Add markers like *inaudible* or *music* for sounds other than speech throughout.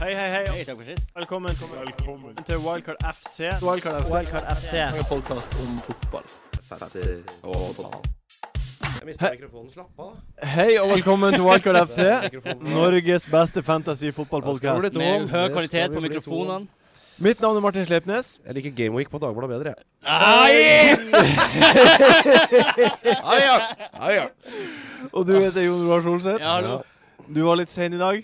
Hei, hei, hei. Hei, takk for sist. Velkommen, til Wildcard FC. Wildcard FC. Wildcard FC. En podkast om fotball. Jeg mista mikrofonen. Slapp av, da. Hei og velkommen til Wildcard FC. Mikrofonen. Norges beste fantasy-fotballpodkast. to. Med høy Det skal kvalitet på vi bli to om. mikrofonene. Mitt navn er Martin Sleipnes. Jeg liker Gameweek på Dagbladet bedre, jeg. Og du heter Jon Roar Solseth. Ja, hallo. Du var litt sen i dag.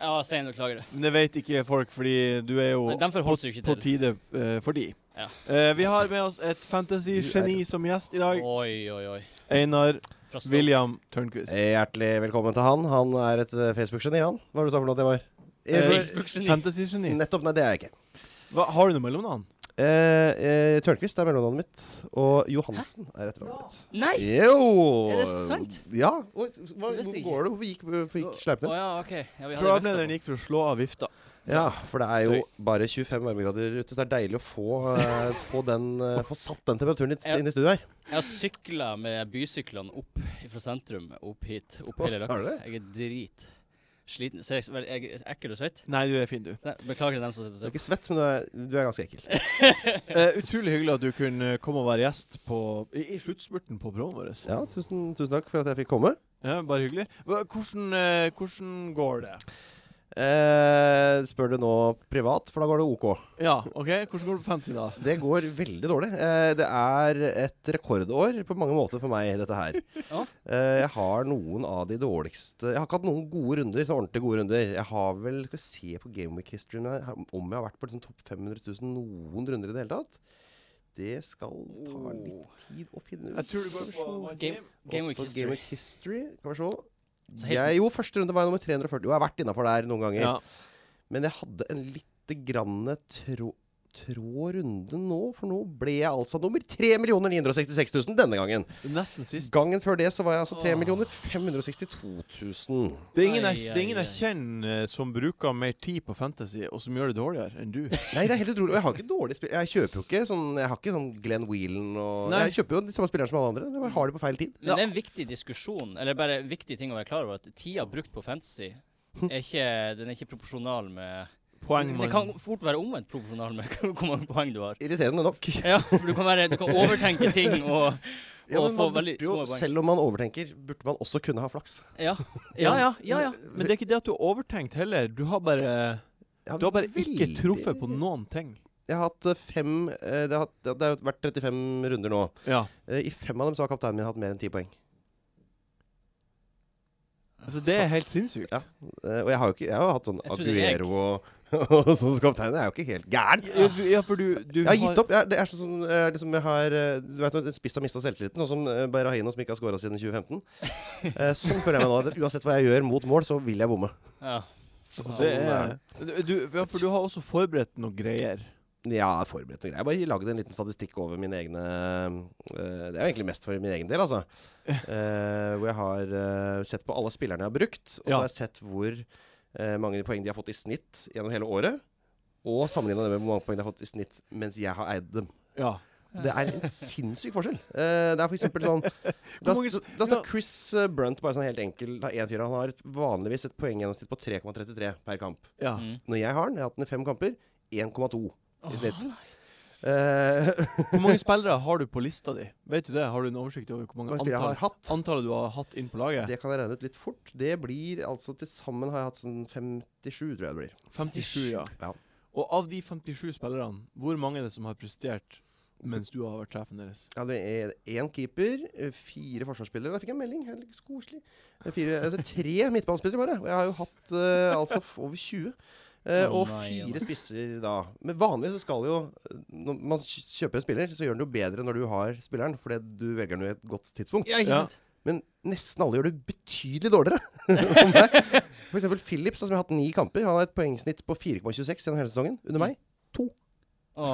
Ja, sen, beklager. Men det vet ikke folk, fordi du er jo Nei, dem forholder seg jo ikke på til. tide eh, for de. Ja. Eh, vi har med oss et fantasy-geni som gjest i dag. Oi, oi, oi. Einar Fra Stopp. William Tørnquist. Hjertelig velkommen til han. Han er et eh, Facebook-geni, han. Hva var det du sa for noe at det var? Eh, Eh, Facebook-geni. Fantasy-geni. Nettopp. Nei, det er jeg ikke. Hva- Har du noe mellomnavn? Eh, eh, Tørnquist er mellomnavnet mitt. Og Johansen er etternavnet mitt. Nei! Jo! Er det sant? Ja. Oi, hva, Det visste jeg hvor går det? Hvorfor gikk, hvorfor gikk Sleipnes? Å ja, OK. Ja, vi hadde Programlederen vest gikk for å slå av vifta. Ja, for det er jo bare 25 varmegrader ute, så det er deilig å få, eh, få, den, eh, få satt den temperaturen litt Ja. inn i studio her. på. Jeg har sykla med bysyklene opp fra sentrum, opp hit. Opp hele Har du rakka. det? Jeg er drit sliten. Ser jeg s- vel, jeg er ekkel og svett? Nei, du er fin, du. Nei, Beklager til dem som Du er sitter og ser på. ikke svett, men du er, du er ganske ekkel. Eh, utrolig hyggelig at du kunne komme og være gjest på, i, i sluttspurten på programmet vårt. Ja, tusen, tusen takk for at jeg fikk komme. Ja, bare hyggelig. Hva- Hvordan, eh, hvordan går det? Eh, spør du nå privat, for da går det OK. Ja, OK. Hvordan går det på fancy, da? Det går veldig dårlig. Eh, det er et rekordår på mange måter for meg, dette her. Ja. Eh, jeg har noen av de dårligste Jeg har ikke hatt noen gode runder, sånn ordentlig gode runder. Jeg har vel Skal vi se på Gameweek-historien her, om jeg har vært på liksom topp 500 000 noen runder i det hele tatt. Det skal ta litt tid å finne ut. Jeg tror det går på Game, Oh, Game Week Også History. Gameweek History. Kan vi se. Så helt- Jeg, jo, første runde var jeg nummer 340. Jo, jeg har vært innafor der noen ganger. Ja. Men jeg hadde en lite grann trå, trå runde nå, for nå ble jeg altså nummer 3 966 000 denne gangen. Nesten sist. Gangen før det så var jeg altså 3 Åh. 562 000. Det er ingen, Ai, jeg, det er ingen ai, jeg kjenner eh, som bruker mer tid på fantasy, og som gjør det dårligere *laughs* enn du. Nei, det er helt utrolig. Og jeg har ikke dårlig spill. Jeg kjøper jo ikke sånn Jeg har ikke sånn Glenn Whelan og Nei. Jeg kjøper jo de samme spillerne som alle andre. Jeg bare har de på feil tid. Men det er en viktig diskusjon, eller bare en viktig ting å være klar over, at tida brukt på fantasy er ikke, den er ikke proporsjonal med Poeng Det man kan fort være omvendt proporsjonal med *laughs* hvor mange poeng du har. Irriterende nok. *laughs* Ja, for du kan, være, du kan overtenke ting og, og Ja, men få man veldig burde jo, små poeng. selv om man overtenker, burde man også kunne ha flaks. Ja, ja, ja. ja, ja. Men det er ikke det at du har overtenkt heller. Du har bare, Jeg du har har bare ikke veldig- truffet på noen ting. Jeg har hatt eh, fem eh, Det har, hatt- det har vært 35 runder nå. Ja. Eh, I fem av dem så har kapteinen min hatt mer enn ti poeng. Altså, det er helt sinnssykt. Ja. Eh, og jeg har jo ikke Jeg har jo hatt sånn Jeg trodde jeg- Aguero og, *laughs* og sånn som kaptein. Jeg er jo ikke helt gæren. Ja, du- ja for du, du Jeg har gitt opp. Jeg, det er sånn som eh, liksom jeg har eh, Du vet når en spiss har mista selvtilliten, sånn som eh, Berahino som ikke har skåra siden 2015. Eh, sånn føler jeg meg nå. at Uansett hva jeg gjør mot mål, så vil jeg bomme. ja. Sånn Det er er, det. du, ja, for du har også forberedt noen greier. Ja, forberedt og greier. Jeg bare lagde en liten statistikk over mine egne eh, Det er jo egentlig mest for min egen del, *laughs* altså. Eh, hvor jeg har eh, sett på alle spillerne jeg har brukt, og så Ja. har jeg sett hvor eh, mange poeng de har fått i snitt gjennom hele året. Og sammenligna det med hvor mange poeng de har fått i snitt mens jeg har eid dem. Ja. Det er *laughs* en sinnssyk forskjell. Eh, det er for eksempel sånn La mange oss s- la oss ta ja. Chris eh, Brunt, bare sånn helt enkel. Da en fyr, han har et- vanligvis et poenggjennomsnitt på 3,33 per kamp. ja. Mm. Når jeg har den, jeg har hatt den i fem kamper, 1,2 i snitt. Eh, *laughs* Hvor mange spillere har du på lista di? Vet du det? Har du en oversikt over hvor mange Hvor mange spillere jeg antall, har hatt? antallet du har hatt inn på laget? Det kan jeg regne ut litt fort. Det blir altså Til sammen har jeg hatt sånn 57, tror jeg det blir. 57, ja. Ja. Og av de 57 spillerne, hvor mange er det som har prestert mens du har vært sjefen deres? Jeg hadde én keeper, fire forsvarsspillere. Da fikk jeg en melding. Helt koselig. Fire, altså tre midtbanespillere, bare. Og jeg har jo hatt eh, altså f- over 20. Eh, Å og nei, ja. fire spisser da. Men vanligvis så skal jo Når man kj- kjøper en spiller, så gjør den det jo bedre når du har spilleren, fordi du velger den jo i et godt tidspunkt. ja, ikke Ja. sant? Men nesten alle gjør det betydelig dårligere. *laughs* enn meg. For eksempel Philips, da, som har hatt ni kamper, han har et poengsnitt på 4,26 gjennom hele sesongen. Mm. Under meg Å,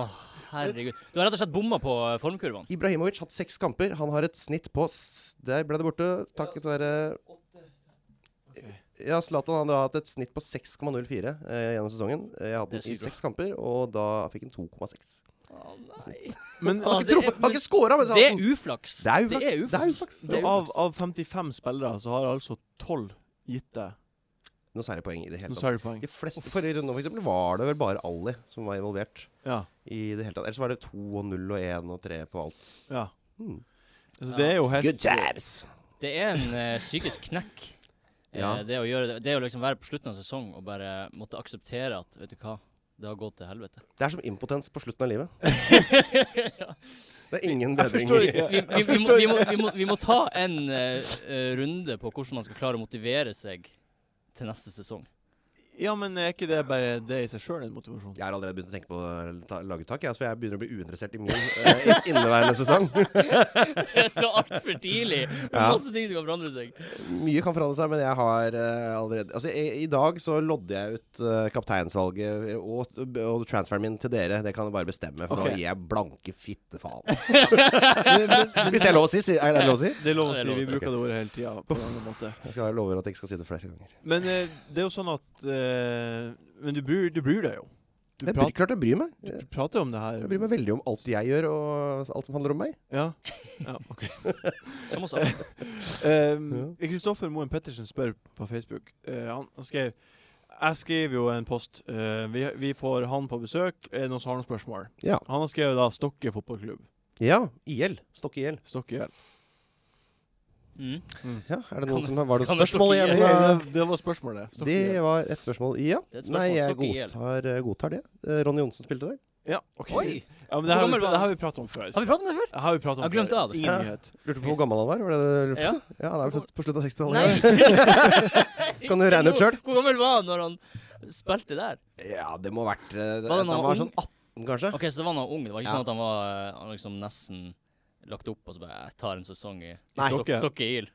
herregud. Du har rett og slett bomma på eh, formkurvene. Ibrahimovic hatt seks kamper. Han har et snitt på s- Der ble det borte. Takket være Ja, Zlatan hadde hatt et snitt på 6,04 eh, gjennom sesongen. Eh, Jeg hadde Det er den i sykt bra. seks kamper, og da fikk han 2,6. Å, nei. Men altså, Han Ja, det har ikke er- truffet, han har ikke scora! Det er uflaks. Det er uflaks. Det er uflaks. Det er uflaks. Det er av, uflaks. av 55 spillere så har altså 12 gitt deg noe særlig poeng i det hele Nå tatt. sa du poeng. De fleste forrige runde for eksempel, var det vel bare Ali som var involvert. Ja. I det hele tatt Ellers var det 2 og 0 og 1 og 3 på alt. ja. Hmm. Altså, det er jo helt Good times! Det er en eh, psykisk knekk. eh, Ja. det, å gjøre det, det å liksom være på slutten av sesong og bare måtte akseptere at vet du hva, det har gått til helvete. Det er som impotens på slutten av livet. *laughs* Det er Jeg ingen bedring. forstår *laughs* i- ikke. Vi, vi, Jeg vi, må, forstår vi, må, vi, må, vi må ta en eh, eh, runde på hvordan man skal klare å motivere seg til neste sesong. *laughs* Ja, men er ikke det bare det i seg sjøl en motivasjon? Jeg har allerede begynt å tenke på å ta- lage uttak, jeg, så jeg begynner å bli uinteressert i min eh, inneværende sesong. *laughs* Det er så altfor tidlig! Det er Ja. Masse ting som kan forandre seg. Mye kan forandre seg, men jeg har eh, allerede Altså, i, i dag så lodder jeg ut eh, kapteinsvalget og, og transferen min til dere. Det kan jeg bare bestemme, Ok. for nå gir jeg blanke fitte *laughs* faen. Hvis det er lov å si, si- er det lov å si? Det er lov å Ja, det si. er lov å Vi si, bruker det ordet hele tida på en annen måte. Jeg skal love at jeg ikke skal si det flere ganger. Men eh, det er jo sånn at eh, Men du bryr, du bryr deg jo. Du Det er prater, klart jeg bryr meg. du prater om det her. Jeg bryr meg veldig om alt jeg gjør, og alt som handler om meg. Ja. ja ok. Som hos alle. Um, Kristoffer Moen Pettersen spør på Facebook. Eh, han, han skrev Jeg skriver jo en post. eh, vi, vi får han på besøk. Er det noen som har noen spørsmål? Ja. Han har skrevet da Stokke fotballklubb. Ja, IL. Stokke IL. Stokke IL. Mm. Ja, er Kan- det noen som Var det kan noen det spørsmål stokke Det, igjen? IL? da? det var spørsmålet. Stokke Det IL. var et spørsmål. Det er Ja. et spørsmål. Nei, jeg Stokke IL. godtar, godtar det. Eh, Ronny Johnsen spilte der. Ja, ok. Oi! Ja, men det her har Hvor vi, gammel var det her har han? vi pratet om før. Har vi pratet om det før? Det her har vi pratet om Jeg glemte før. det. Ingen Ja. nyhet. Lurte på hvor gammel han var. var det det, du lurte Ja. på? ja, han er vel født på slutten av 60-tallet. Nei! *laughs* Kan du regne ut selv? Hvor gammel var han når han spilte der? Ja, det må ha vært eh, Var det Han når han var var sånn 18, kanskje. Ok, Så det var han var ung. Det var ikke Ja. sånn at han var eh, han liksom nesten lagt opp og så bare Jeg tar en sesong i Nei. Stok- Stokke. Stokke IL.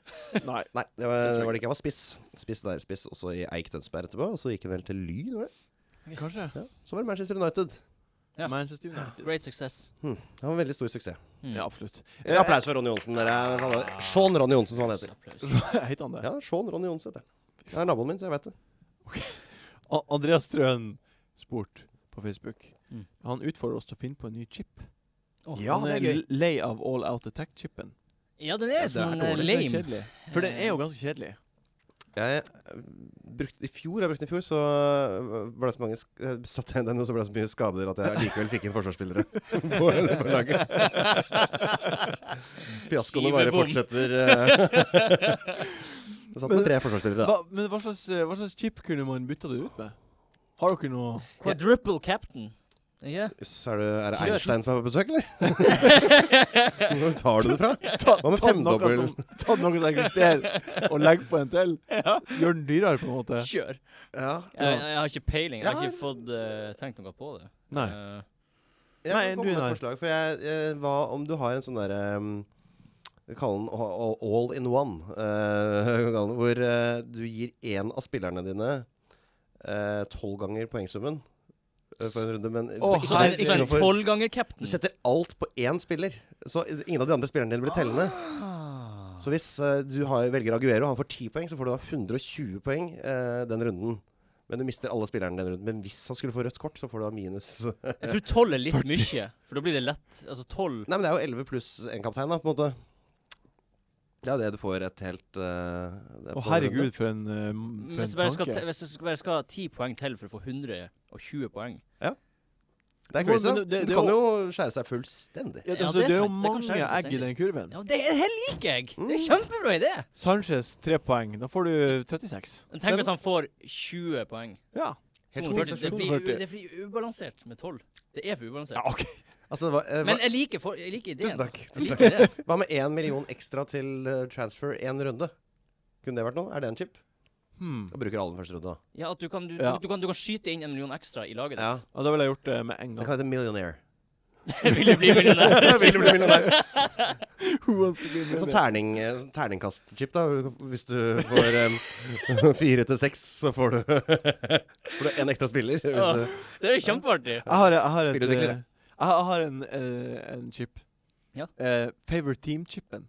Nei. Nei, det var, det var det ikke. Jeg var spiss. Spiss der, spiss også i Eik Tønsberg etterpå. Og så gikk han vel til Lyn, var det? Kanskje. Ja. Så var det Manchester United. Ja. Manchester United. Great success. Hm. Han var en veldig stor suksess. Mm. Ja, absolutt. *laughs* En applaus for Ronny Johnsen. Dere. Han er- Sean Ronny Johnsen, som han heter. Applaus. Heter han det? Ja, Sean Ronny Johnsen heter han. Det er naboen min, så jeg vet det. A- Andreas Strøen Sport på Facebook. Mm. Han utfordrer oss til å finne på en ny chip. Åh, Ja, han det er gøy. l- lei av all out attack-chipen. Ja, den er Ja, det er sånn eh, dårlig. lame. kjedelig. For det er jo ganske kjedelig. Jeg eh, brukte i fjor, jeg brukte den i fjor, så eh, var det så mange sk- eh, satte jeg den, og så ble det så mye skader at jeg likevel fikk inn forsvarsspillere på, på laget. Fiaskoene bare Skivebom. fortsetter. eh. Jeg satt med tre forsvarsspillere, da. Hva, men hva slags, eh, hva slags chip kunne man bytta det ut med? Har dere noe Quadruple captain. Ikke? Så er det, er det Kjør. Einstein som er på besøk, eller? Hvor tar du det fra? *laughs* ta, Hva med noe femdobbel? som, ta noe som eksisterer, og legg på en *laughs* til? Gjør den dyrere, på en måte? Kjør. Ja. Jeg, jeg har ikke peiling. Jeg har Ja. ikke fått eh, tenkt noe på det. Nei. Eh, Jeg Nei, kan du, komme med nei. et forslag, for jeg, eh, hva om du har en sånn derre vi kaller den a- a- all in one. eh, *laughs* vi kaller den, hvor eh, du gir én av spillerne dine eh, tolv ganger poengsummen eh, for en runde. Men du Å, får så ikke, er noe- det- så ikke er noe det for, tolv ganger captain. du setter alt på én spiller, så ingen av de andre spillerne dine blir tellende. Ah. Så hvis eh, du har, velger Aguero, han får 10 poeng, så får du da 120 poeng eh, den runden. Men du mister alle spillerne den runden. Men hvis han skulle få rødt kort, så får du da minus Jeg tror tolv er litt mye, for da blir det lett. Altså tolv Nei, men det er jo 11 pluss en kaptein, da, på en måte. Det er jo det du får et helt eh, det Å, er på en herregud, runde. for en, eh, m- for Mm, Hvis jeg bare en skal, te- tanke. hvis jeg skal- bare skal ha ti poeng til for å få 120 poeng Det er crazy. Men da. det- det- Du det kan er jo skjære seg fullstendig. Ja, Ja, altså, det er det er jo sant. Det kan mange skjæres på egg i den kurven. Ja, det her liker jeg! Det er kjempebra idé! Sanchez tre poeng. Da får du 36. Men Tenk hvis han får 20 poeng. Ja. Helt 240. Det, sensasjon. blir, 240. u- det blir ubalansert med 12. Det er for ubalansert. ja OK. Altså, hva, eh, Men hva, jeg liker, for, jeg liker ideen. tusen takk. Jeg Tusen takk. liker ideen. Hva med én million ekstra til eh, transfer én runde? Kunne det vært noe? Er det en chip? Hmm. Da bruker alle den første runden, da. Ja, at du kan, du, Ja. du, kan, du kan skyte inn en million ekstra i laget *laughs* Ja. ditt. Ja, da ville jeg gjort det med en Det *laughs* gang. kan *laughs* hete millionaire. Vil du bli millionær? Vil du bli millionær? Who wants to be a millionaire? Sånn terning, eh, sånn terningkast-chip, da. Hvis du får eh, *laughs* fire til seks, så får du, *laughs* får du en ekstra spiller. Hvis du Det er jo kjempeartig. Jeg har, jeg har, et, Spillutviklere. eh, jeg har en, eh, en chip. Ja. Eh, favorite team-chipen.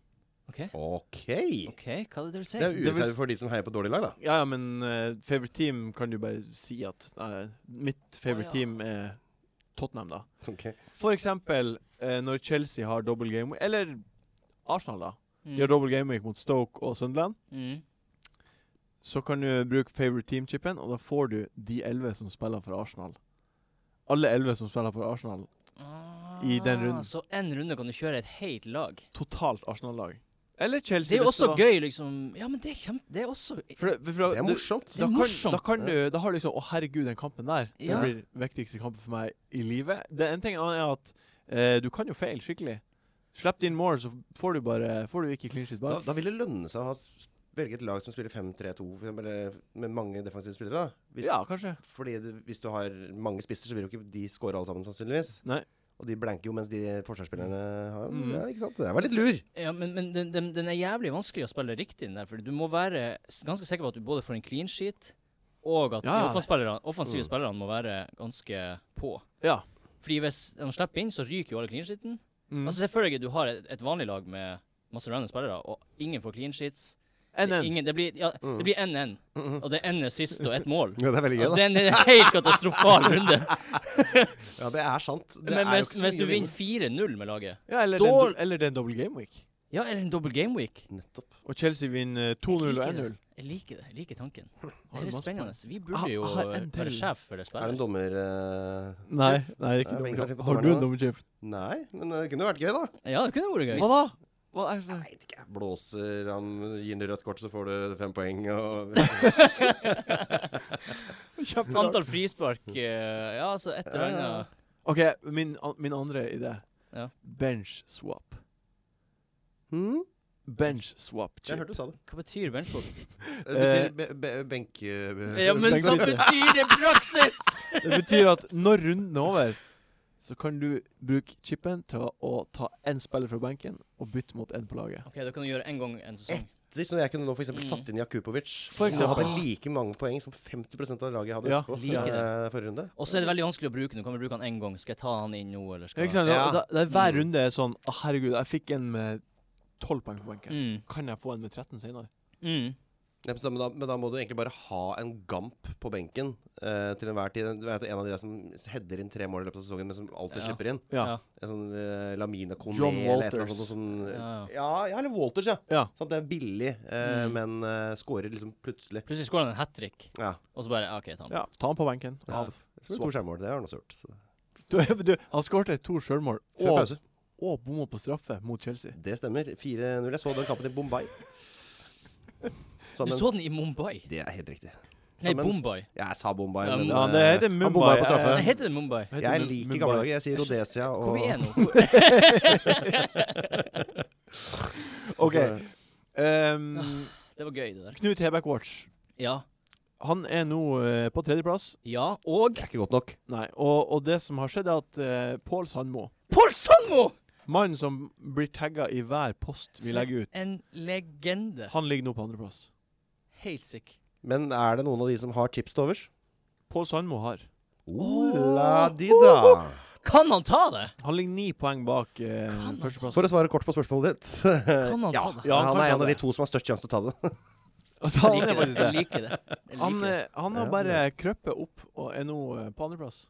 OK, OK. ok, hva er det dere Det er sier? Det vil urettferdig s- for de som heier på dårlige lag, da. Ja, ja, men eh, favorite team kan du bare si at eh, Mitt favorite Å, ja. team er Tottenham, da. Ok. For eksempel eh, når Chelsea har dobbel game Eller Arsenal, da. De har Mm. dobbel game week mot Stoke og Sunderland. Mm. så kan du bruke favorite team-chipen, og da får du de elleve som spiller for Arsenal. Alle elleve som spiller for Arsenal. I den Ah, runden. Så én runde kan du kjøre et helt lag. Totalt Arsenal-lag. Eller Chelsea. Det er jo hvis det også var- gøy, liksom. Ja, men det er kjempe... Det er også For, det- for, Det er du- morsomt. Det Da er kan, morsomt. da kan du Da har du liksom Å, herregud, den kampen der. Ja. Det blir den viktigste kampen for meg i livet. Det er en ting annet er at eh, du kan jo feile skikkelig. Slipp inn mål, så får du bare Får du ikke clean shit Da, bak. da vil det lønne seg å ha s- velge et lag som spiller 5-3-2, for eksempel, eller med mange defensive spillere. da. Hvis, Ja, kanskje. Fordi du, hvis du har mange spisser, så vil jo ikke de score alle sammen, sannsynligvis. Nei. Og de blanker jo mens de forsvarsspillerne har Mm. ja, ikke sant? Det var litt lur. Ja, men, men den, den, den er jævlig vanskelig å spille riktig, den der. For du må være s- ganske sikker på at du både får en clean sheet, og at Ja, ja. de offensive, offensive Mm. spillerne må være ganske på. Ja. Fordi hvis de slipper inn, så ryker jo alle clean sheeten. Mm. Altså selvfølgelig, du har et, et vanlig lag med masse random spillere, og ingen får clean sheets. Det, er NN. ingen, det blir ja, Mm. det blir 1-1, og det ender sist og ett mål. Ja, det er veldig gøy, Altså, da. det er en helt katastrofal runde. Ja, det er sant. Det Men er jo hvis, ikke så hvis mye du å vinner 4-0 med laget Ja, eller, den, Dårl- do- eller den double game week. Ja, eller en dobbel gameweek. Nettopp. Og Chelsea vinner 2-0 og 1-0. Jeg liker det. Jeg liker tanken. Har Det du er masse spennende. Vi Ah, burde jo ah, en til. være sjef for det Er det en spillet. dommer eh, Nei, nei Ja, ikke vi dobbeltkamp. kan ikke få Har du dommerne, en dobbeltchip? Nei, men eh, det kunne vært gøy, da. Ja, det kunne vært gøy. Hva da? Hva er det? Jeg vet ikke. Blåser han, gir han rødt kort, så får du fem poeng. Og Kjempebra. Antall frispark eh, Ja, altså et eller Ja, ja, ja. annet. OK, min, an- min andre idé. Ja. Bench swap. hmm? Bench swap Jeg chip. hørte du sa det. Hva betyr benchbok? Det Eh, betyr be be benk... eh, Ja, men Benk hva litt. betyr det i praksis?! Det betyr at når runden er over, så kan du bruke chipen til å ta én spiller fra benken og bytte mot én på laget. OK, da kan du gjøre én gang en sesong. Hvis når jeg kunne nå for eksempel Mm. satt inn Jakubovic, For som hadde eksempel. like mange poeng som 50 av laget jeg hadde Ja, etterpå, like det. eh, forrige runde. Og så er det veldig vanskelig å bruke den. Du kan vel bruke den én gang. Skal jeg ta han inn nå, eller skal Ikke sant? Ja. Da, da, hver Mm. runde er sånn Å, herregud, jeg fikk en med 12 poeng på benken. Mm. Kan jeg få en med 13 senere? Mm. Ja, men så- men, da, men da må du egentlig bare ha en gamp på benken eh, til enhver tid. Du vet, en av de der som header inn tre mål i løpet av sesongen, men som alltid Ja. slipper inn. Ja. Ja. En sånn eh, Lamina Kone John eller et eller Walters. annet sånt. Som, ja. Ja, ja. ja, eller Walters, ja. Ja. Sånn, det er billig, eh, Mm. men eh, scorer liksom plutselig. Plutselig skårer han en hat trick, Ja. og så bare ja, OK, ta han. ja. Ta han på benken. Ja. Av. Så to skjermmål, det har han også gjort. Så. Du, du, han skårte to sjølmål Før og, pause. og bomma på straffe mot Chelsea. Det stemmer. 4-0. Jeg så den kampen i Bombay. Du Sammen. så den i Mumbai? Det er helt riktig. Nei, Sammen- Bombay. Jeg sa Bombay, Ja, men Ja, eh, det heter han Mumbai. bomba Nei, på straffe. Heter det Mumbai? Det heter Jeg Mum- liker Mumbai. gamle dager. Jeg sier Rhodesia Hvor og vi er nå? OK. Altså- ehm, Det var gøy, det der. Knut Hebekk Watch. Ja. Han er nå eh, på tredjeplass. Ja, og Det er ikke godt nok. Nei, og, og det som har skjedd, er at eh, Pål Sandmo Pål Sandmo! Mannen som blir tagga i hver post vi legger ut, En legende. han ligger nå på andreplass. Helt sick. Men er det noen av de som har chips til overs? Pål Sandmo har. Ola di da. Kan han ta det? Han ligger ni poeng bak eh, han førsteplass. For å svare kort på spørsmålet ditt. Kan han ja, ta det? Ja, han han kan ta er en av de det. to som har størst sjanse til å *laughs* ta det. Altså, Jeg han er liker faktisk det. det. Jeg *laughs* liker det. Jeg Han, liker det. eh, han Ja, har bare krøpet opp og er nå eh, på andreplass.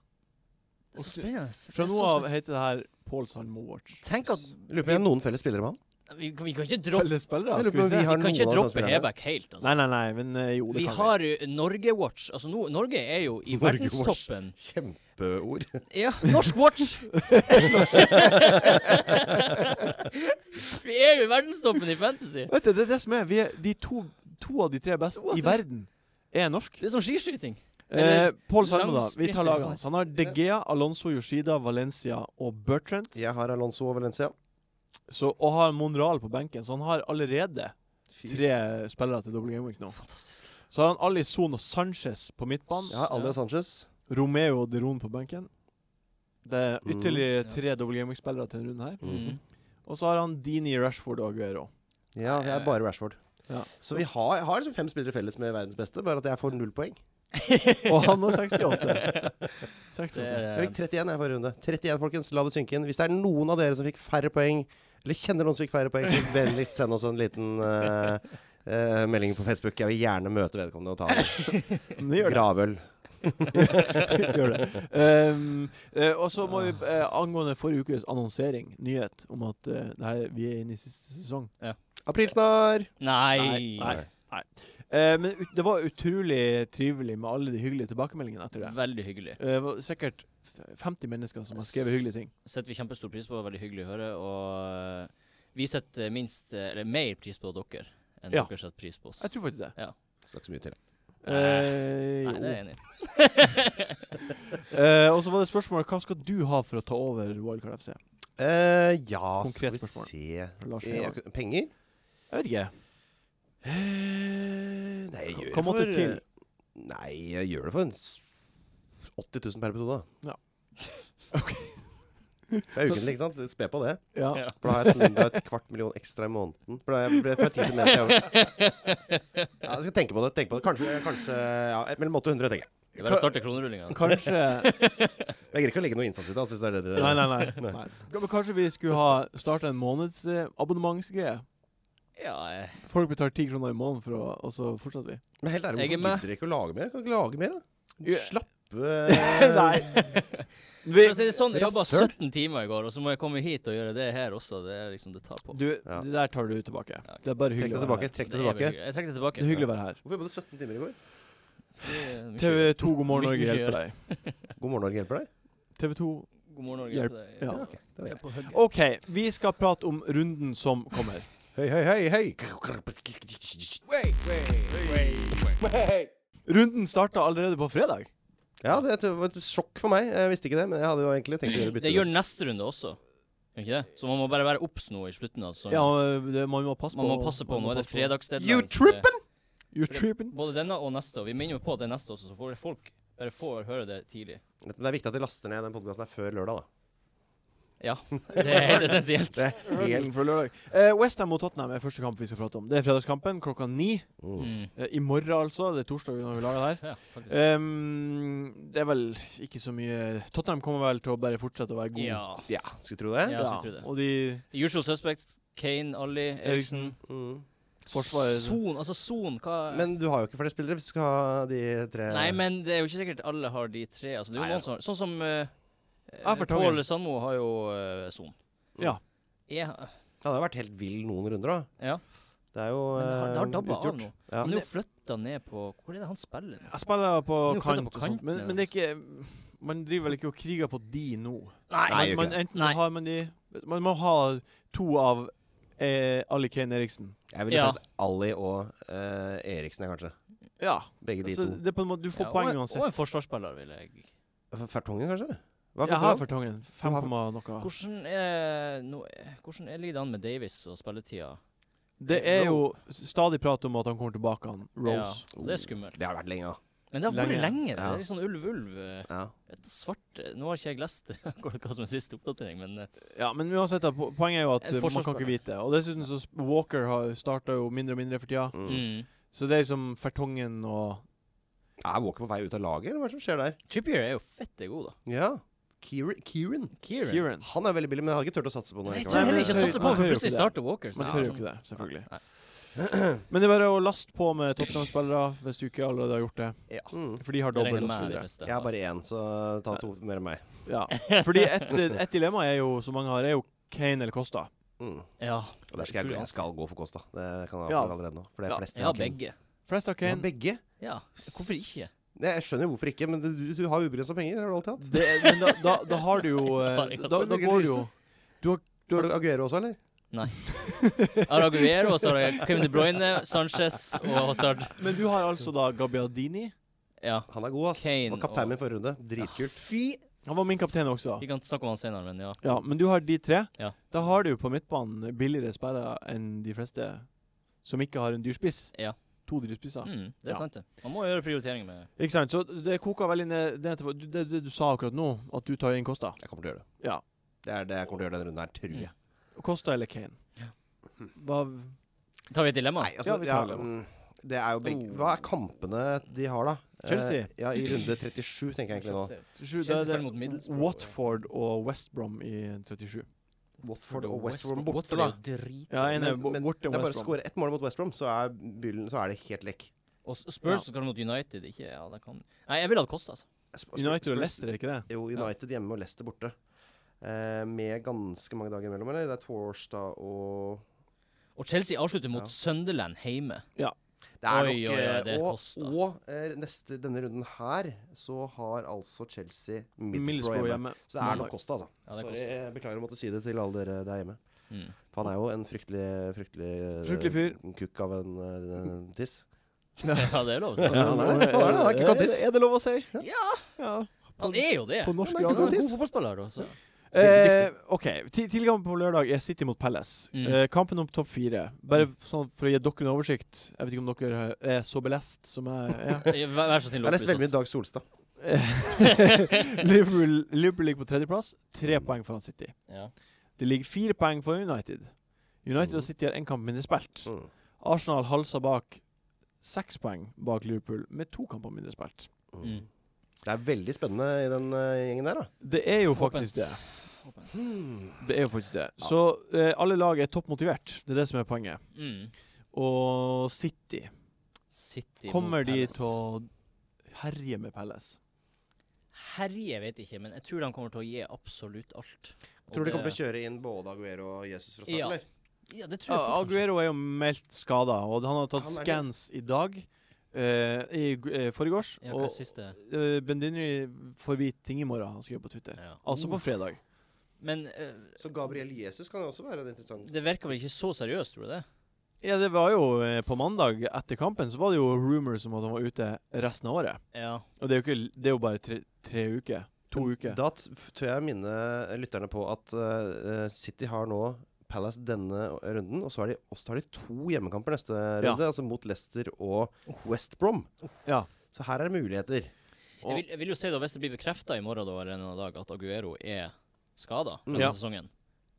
Det er så spennende. Det Fra er nå så av spennende. heter det her Pål Sandmo Watch. Tenk at Lurer på om jeg har noen felles spillere med han. vi, vi kan ikke droppe, Felles spillere, Jeg lurer skal vi på om se. vi har vi kan noen ikke av de droppe samme spillerne. Hebekk helt. Altså. altså, Nei, nei, nei, men eh, jo, det Vi kan vi. har jo Norge-watch. Altså, no, Norge er jo i Norge-watch. verdenstoppen. Kjempeord. Ja, *laughs* norsk *laughs* watch. vi er jo i verdenstoppen i fantasy. Vet du, det er det som er. Vi er de to, to av de tre beste What i the- verden er norsk. Det er som skiskyting. Eh, Eller Pål Sandmo, da. Vi tar langsprinter, lagene hans. Han har De Gea, Alonso, Yoshida, Valencia og Bertrand. Jeg har Alonso og Valencia. Så, og har Monreal på benken, så han har allerede tre spillere til double game week nå. Fantastisk. Så har han Alison og Sanchez på midtbanen. Jeg har Alde Sanchez. Romeo og Deron på benken. Det er Mm. ytterligere Ja. tre double game week-spillere til denne runden her. Mm. Og så har han Dini, Rashford og *laughs* Aguero. Ja, jeg er bare Rashford. Eh, Ja. Så vi har, jeg har liksom fem spillere felles med verdens beste, bare at jeg får null poeng. Og han har *laughs* 68. Det 68. Jeg er fikk 31 jeg forrige runde. 31, folkens. La det synke inn. Hvis det er noen av dere som fikk færre poeng, eller kjenner noen som fikk færre poeng, så vennligst send oss en liten eh, eh, melding på Facebook. Jeg vil gjerne møte vedkommende *laughs* og ta en Men Det gjør det. gravøl. *laughs* gjør det. Um, eh, og så må vi eh, angående forrige ukes annonsering, nyhet om at eh, det her, vi er inne i siste sesong. Aprilsnarr! Nei. Nei. Eh, men ut, det var utrolig trivelig med alle de hyggelige tilbakemeldingene etter det. Veldig hyggelig. Eh, Det var sikkert f- 50 mennesker som har skrevet hyggelige ting. setter vi kjempestor pris på. Veldig hyggelig å høre. Og eh, vi setter minst, eh, eller mer pris på dere enn Ja. dere setter pris på oss. Jeg tror faktisk det. Skal ikke så mye til. Eh, Nei, det jo. er jeg enig i. Eh, og så var det spørsmålet hva skal du ha for å ta over Wildcard FC? Eh, ja, Konkret skal vi spørsmål. se Fra Lars Eh, Vevang. ok, Penger? Jeg vet ikke. Eh, Nei, jeg Hva- gjør hva det måtte for til? eh, Nei, jeg gjør det for en s- 80 000 per episode. Ja. *laughs* ok. Det er ukentlig, ikke sant? Spe på det. Ja. Ja. For da har jeg til- da har jeg et kvart million ekstra i måneden. For da har jeg- for jeg får tid til mer. til jeg- Ja, jeg skal tenke på det. tenke på det. Kanskje, kanskje ja, et- mellom 80 og 100, tenker jeg. Det er bare å starte kronerullinga. Kanskje Jeg greier ikke å legge noe innsats i det, altså, hvis det er det dere Nei, nei, nei. nei. Ja, Men kanskje vi skulle ha starta en eh, månedsabonnementsgreie? Ja, eh, Folk betaler ti kroner i måneden, for å, og så fortsetter vi. Men helt ærlig, Jeg er hvorfor med. gidder dere ikke å lage mer? Kan dere ikke lage mer, da? Ja. Slappe *laughs* eh, *laughs* Nei. Vi, for å si det sånn, jeg Ja, jobba søren. 17 timer i går, og så må jeg komme hit og gjøre det her også. Det er liksom det tar på. du, Ja. det der tar du tilbake. Ja, ok. Det er bare Trekk hyggelig. det å være tilbake. her. Trekk Det det er veldig tilbake. hyggelig. Jeg trekker det Det er tilbake. hyggelig å være her. Hvorfor jobbet du 17 timer i går? Fordi- TV2 God morgen Norge Mye å hjelper deg. God morgen, Norge hjelper deg. TV2 God morgen, Norge. Hjelp. Hjelp deg. Ja. Ok, det var Jeg er greit. på hugget. OK, vi skal prate om runden som kommer. Høy, høy, høy, høy. Wait, wait, wait. Runden starta allerede på fredag. Ja, det var et sjokk for meg. Jeg visste ikke det, men jeg hadde jo egentlig tenkt å gjøre bytte. Det gjør neste runde også. Gjør ikke det? Så man må bare være obs nå i slutten av sesongen. Ja, det, man må passe Man må på. passe på, man må nå er det passe på. fredagsdeadline. You så det- trippin'? You're tripping. Både denne og neste. Og vi minner jo på at det er neste også, så får folk bare får høre det tidlig. Det er viktig at de laster ned den podkasten før lørdag, da. Ja. Det er helt essensielt. Det er helt Fra lørdag. Eh, Westham mot Tottenham er første kamp vi skal prate om. Det er fredagskampen klokka ni. mm. Mm. Eh, I morgen, altså. Det er torsdag når vi lager det her. Ja, faktisk. Ehm, det er vel ikke så mye Tottenham kommer vel til å bare fortsette å være god. Ja. Ja, skulle tro det. Ja. jeg skulle tro det. Og de The Usual Suspect, Kane, Ali, Eriksen. Eriksen Mm. Forsvaret- Son, altså Son, hva Men du har jo ikke flere spillere hvis du skal ha de tre Nei, men det er jo ikke sikkert alle har de tre. Altså, det er Nei, jo noen som har Sånn som uh, Ja, for Tangen. Pål Sandmo har jo eh, Son. Ja. Ja, Ja, det har vært helt vill noen runder, da. ja. Det er jo Men det har, det har eh, dabba av utgjort. nå. Ja. Han er jo flytta ned på Hvor er det han spiller nå? Jeg spiller på Nå flytter kant, på og sånt, kanten, men, ja. men det er ikke Man driver vel ikke og kriger på de nå. Nei, man, gjør ikke man, det. enten Nei. så har man de Man må ha to av eh, Ali Kane Eriksen. Jeg ville Ja. sagt Ali og eh, Eriksen, jeg, kanskje. Ja. Begge de Så to. Altså- det er på en måte, du får Ja, og poeng en- uansett. Og en forsvarsspiller, vil jeg F- Fertongen, kanskje? Hva Jeg koster har han? Fertongen. 5, har- komma noe. Hvordan er nå, Hvordan er ligger det an med Davis og spilletida? Det er jo stadig prat om at han kommer tilbake, han Rose. Ja, det er skummelt. Det har vært lenge, da. Men det har vært Lenge. lenge. Det Ja. er litt sånn ulv-ulv. Ja. Svart eh, Nå har ikke jeg lest *laughs* akkurat hva som er siste oppdatering, men eh, Ja, men uansett, da, po- poenget er jo at En eh, man kan ikke vite. Og dessuten så sp- Walker har starta jo mindre og mindre for tida. Mm. mm. Så det er liksom Fertongen og Er Walker på vei ut av laget, eller hva er det som skjer der? Trippier er jo fette god, da. Ja. Kieran, Kieran. Kieran. Kieran. Han er veldig billig, men jeg hadde ikke turt å satse på Nei, noe. jeg tør heller ikke å Nei, satse på ham, man tør for jo plutselig ikke starter Walker. Man så- sånn tør jo ikke det, selvfølgelig. Nei. Men det er bare å laste på med Tottenham-spillere hvis du ikke allerede har gjort det. Mm. For de har Det regner dobbel og jeg med så er de videre. fleste. Jeg har bare én, så ta to mer enn meg. Ja. Fordi et, et dilemma er jo, som mange har, er jo Kane eller Costa. Mm. Ja. Og der skal jeg, jeg skal gå for Kosta. Det kan jeg Ja. avsløre allerede nå. For det er Ja. flest Jeg har begge. Flest har Ja, Kane. begge? Ja, hvorfor ikke? Nei, Jeg skjønner jo hvorfor ikke, men du, du har jo ubegrensa penger. Har du alltid hatt? Det, men da, da, da har du jo eh, Bare Costa. Da, da går det jo Du- Har du Aguero også, eller? Araguero, og så har jeg Kevin De Bruyne, Sanchez og Hazard. Men du har altså da Gabbiadini. Ja. Han er god, ass. Kane Var kaptein og- min forrige runde. Dritkult. Fy Han var min kaptein også. Vi kan snakke om han senere, men ja. Ja, Men du har de tre. Ja. Da har du jo på midtbanen billigere sperrer enn de fleste som ikke har en dyrspiss. Ja. To dyrspisser. Mm, det er Ja. sant, det. Man må gjøre prioriteringer med Ikke sant? Så det koker veldig ned ned til det, det du sa akkurat nå, at du tar inn Costa. Jeg kommer til å gjøre det. Ja. Mm. Det er det jeg kommer til å gjøre denne runden her, tror jeg. Costa eller Kane? Ja. Hva Tar vi et dilemma? Nei, altså, Ja, vi ja, tar det. Oh. mm, det er jo begge Hva er kampene de har, da? Eh, Chelsea. ja, i runde 37, tenker jeg egentlig nå. Sju, Chelsea det, spiller det, mot Middlesbrough, ja. Watford og West Brom i 37. Watford og West Brom borte, Watford er da. jo drit. Ja, jeg er enig. Men- Bo- men Borte Det er bare å West Brom. skåre ett mål mot West Brom, så er, byllen, så er det helt lekk. Og S- Spurs skal mot United, ikke Ja, det kan Nei, jeg ville hatt Kosta, altså. Sp- Spurs- United Spurs- og Leicester, er ikke det? Jo, United hjemme og Leicester borte. Eh, med ganske mange dager imellom, eller? Det er torsdag og Og Chelsea avslutter mot Ja. Sunderland hjemme. Ja. Det er Oi, nok, oi, oi, eh, det og koster. og eh, neste, denne runden her så har altså Chelsea Middlesbrough Middlesbrough hjemme. hjemme. Så det er nok Costa, altså. Ja, det Sorry, koster. jeg beklager å måtte si det til alle dere der hjemme. Mm. *laughs* For han er jo en fryktelig Fryktelig, eh, Fryktelig fyr. kukk av en eh, tiss. ja, det er lov å si. Ja, han er det. Han er det, han er ikke Er det, kattis. er det lov å si? Ja, Ja. han er jo det. På norsk Han er Han er en grader. kattis. god fotballspiller, da. Så. Eh, OK. Ti- Tidligere på lørdag er City mot Palace. Mm. Eh, kampen om topp fire. Bare sånn for å gi dere en oversikt. Jeg vet ikke om dere er så belest som jeg er. *laughs* *laughs* Eh, Vær vær så snill, Jeg har opplyse lest veldig oss. mye Dag Solstad. Liverpool, Liverpool ligger på tredjeplass. Tre poeng foran City. Ja. Det ligger fire poeng foran United. United og City har én kamp mindre spilt. Mm. Arsenal halser bak seks poeng bak Liverpool med to kamper mindre spilt. Mm. Det er veldig spennende i den eh, gjengen der, da. Det er jo faktisk det. Åpent. Mm. Det er jo faktisk det. Så eh, alle lag er toppmotivert. Det er det som er poenget. Mm. Og City City mot Kommer de Palace. til å herje med Pelles? Herje vet jeg ikke, men jeg tror de kommer til å gi absolutt alt. Og Tror du de det- kommer til å kjøre inn både Aguero og Jesus fra Ja. starten, eller? Ja, det tror jeg fort, kanskje. Aguero er jo meldt skada, og han har tatt Han er det. scans i dag. eh, I uh, forgårs. Ja, hva er og siste? uh, Bendinri får vite ting i morgen, han skriver på Twitter. Ja. Altså på fredag. Men eh, Så Gabriel Jesus kan jo også være en interessant det virker vel ikke så seriøst, tror du det? Ja, det var jo eh, På mandag etter kampen så var det jo rumors om at han var ute resten av året. Ja. Og det er jo, ikke, det er jo bare tre, tre uker. To uker. Da t- f- tør jeg minne lytterne på at eh, City har nå Palace denne runden, og så har de, og så har de to hjemmekamper neste Ja. runde, altså mot Leicester og West Brom. Ja. Så her er det muligheter. Jeg vil, jeg vil jo si da, hvis det blir bekrefta i morgen da, eller en annen dag at Aguero er skada Mm. resten Ja. av sesongen,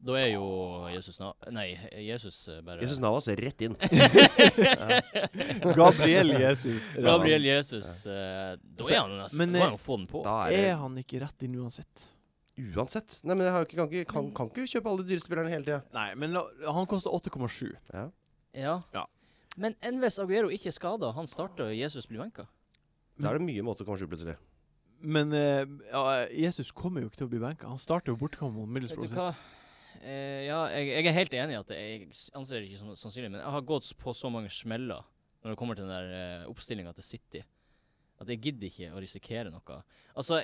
da er jo Jesus na Nei, Jesus eh, bare *laughs* Jesus Navas rett inn. Gabriel Jesus. Gabriel Jesus. eh, da Altså, er han jo nesten men, Må eh, han jo få den på. Da er det Er han ikke rett inn uansett? uansett. Nei, men jeg har jo ikke, kan, ikke, kan, kan ikke kjøpe alle de dyre spillerne hele tida. Nei, men la, han koster 8,7. Ja. Ja. Ja. Men enn hvis Aguero ikke er skada, han starter og Jesus blir benka? Da er det mye måter å komme seg ut plutselig. Men eh, ja, Jesus kommer jo ikke til å bli benka. Han starter jo bortekamp mot Vet du Middlesbrough hva? sist. Eh, ja, jeg, jeg er helt enig i at det- jeg s- anser det ikke som sannsynlig, men jeg har gått på så mange smeller når det kommer til den der uh, oppstillinga til City, at jeg gidder ikke å risikere noe. Altså,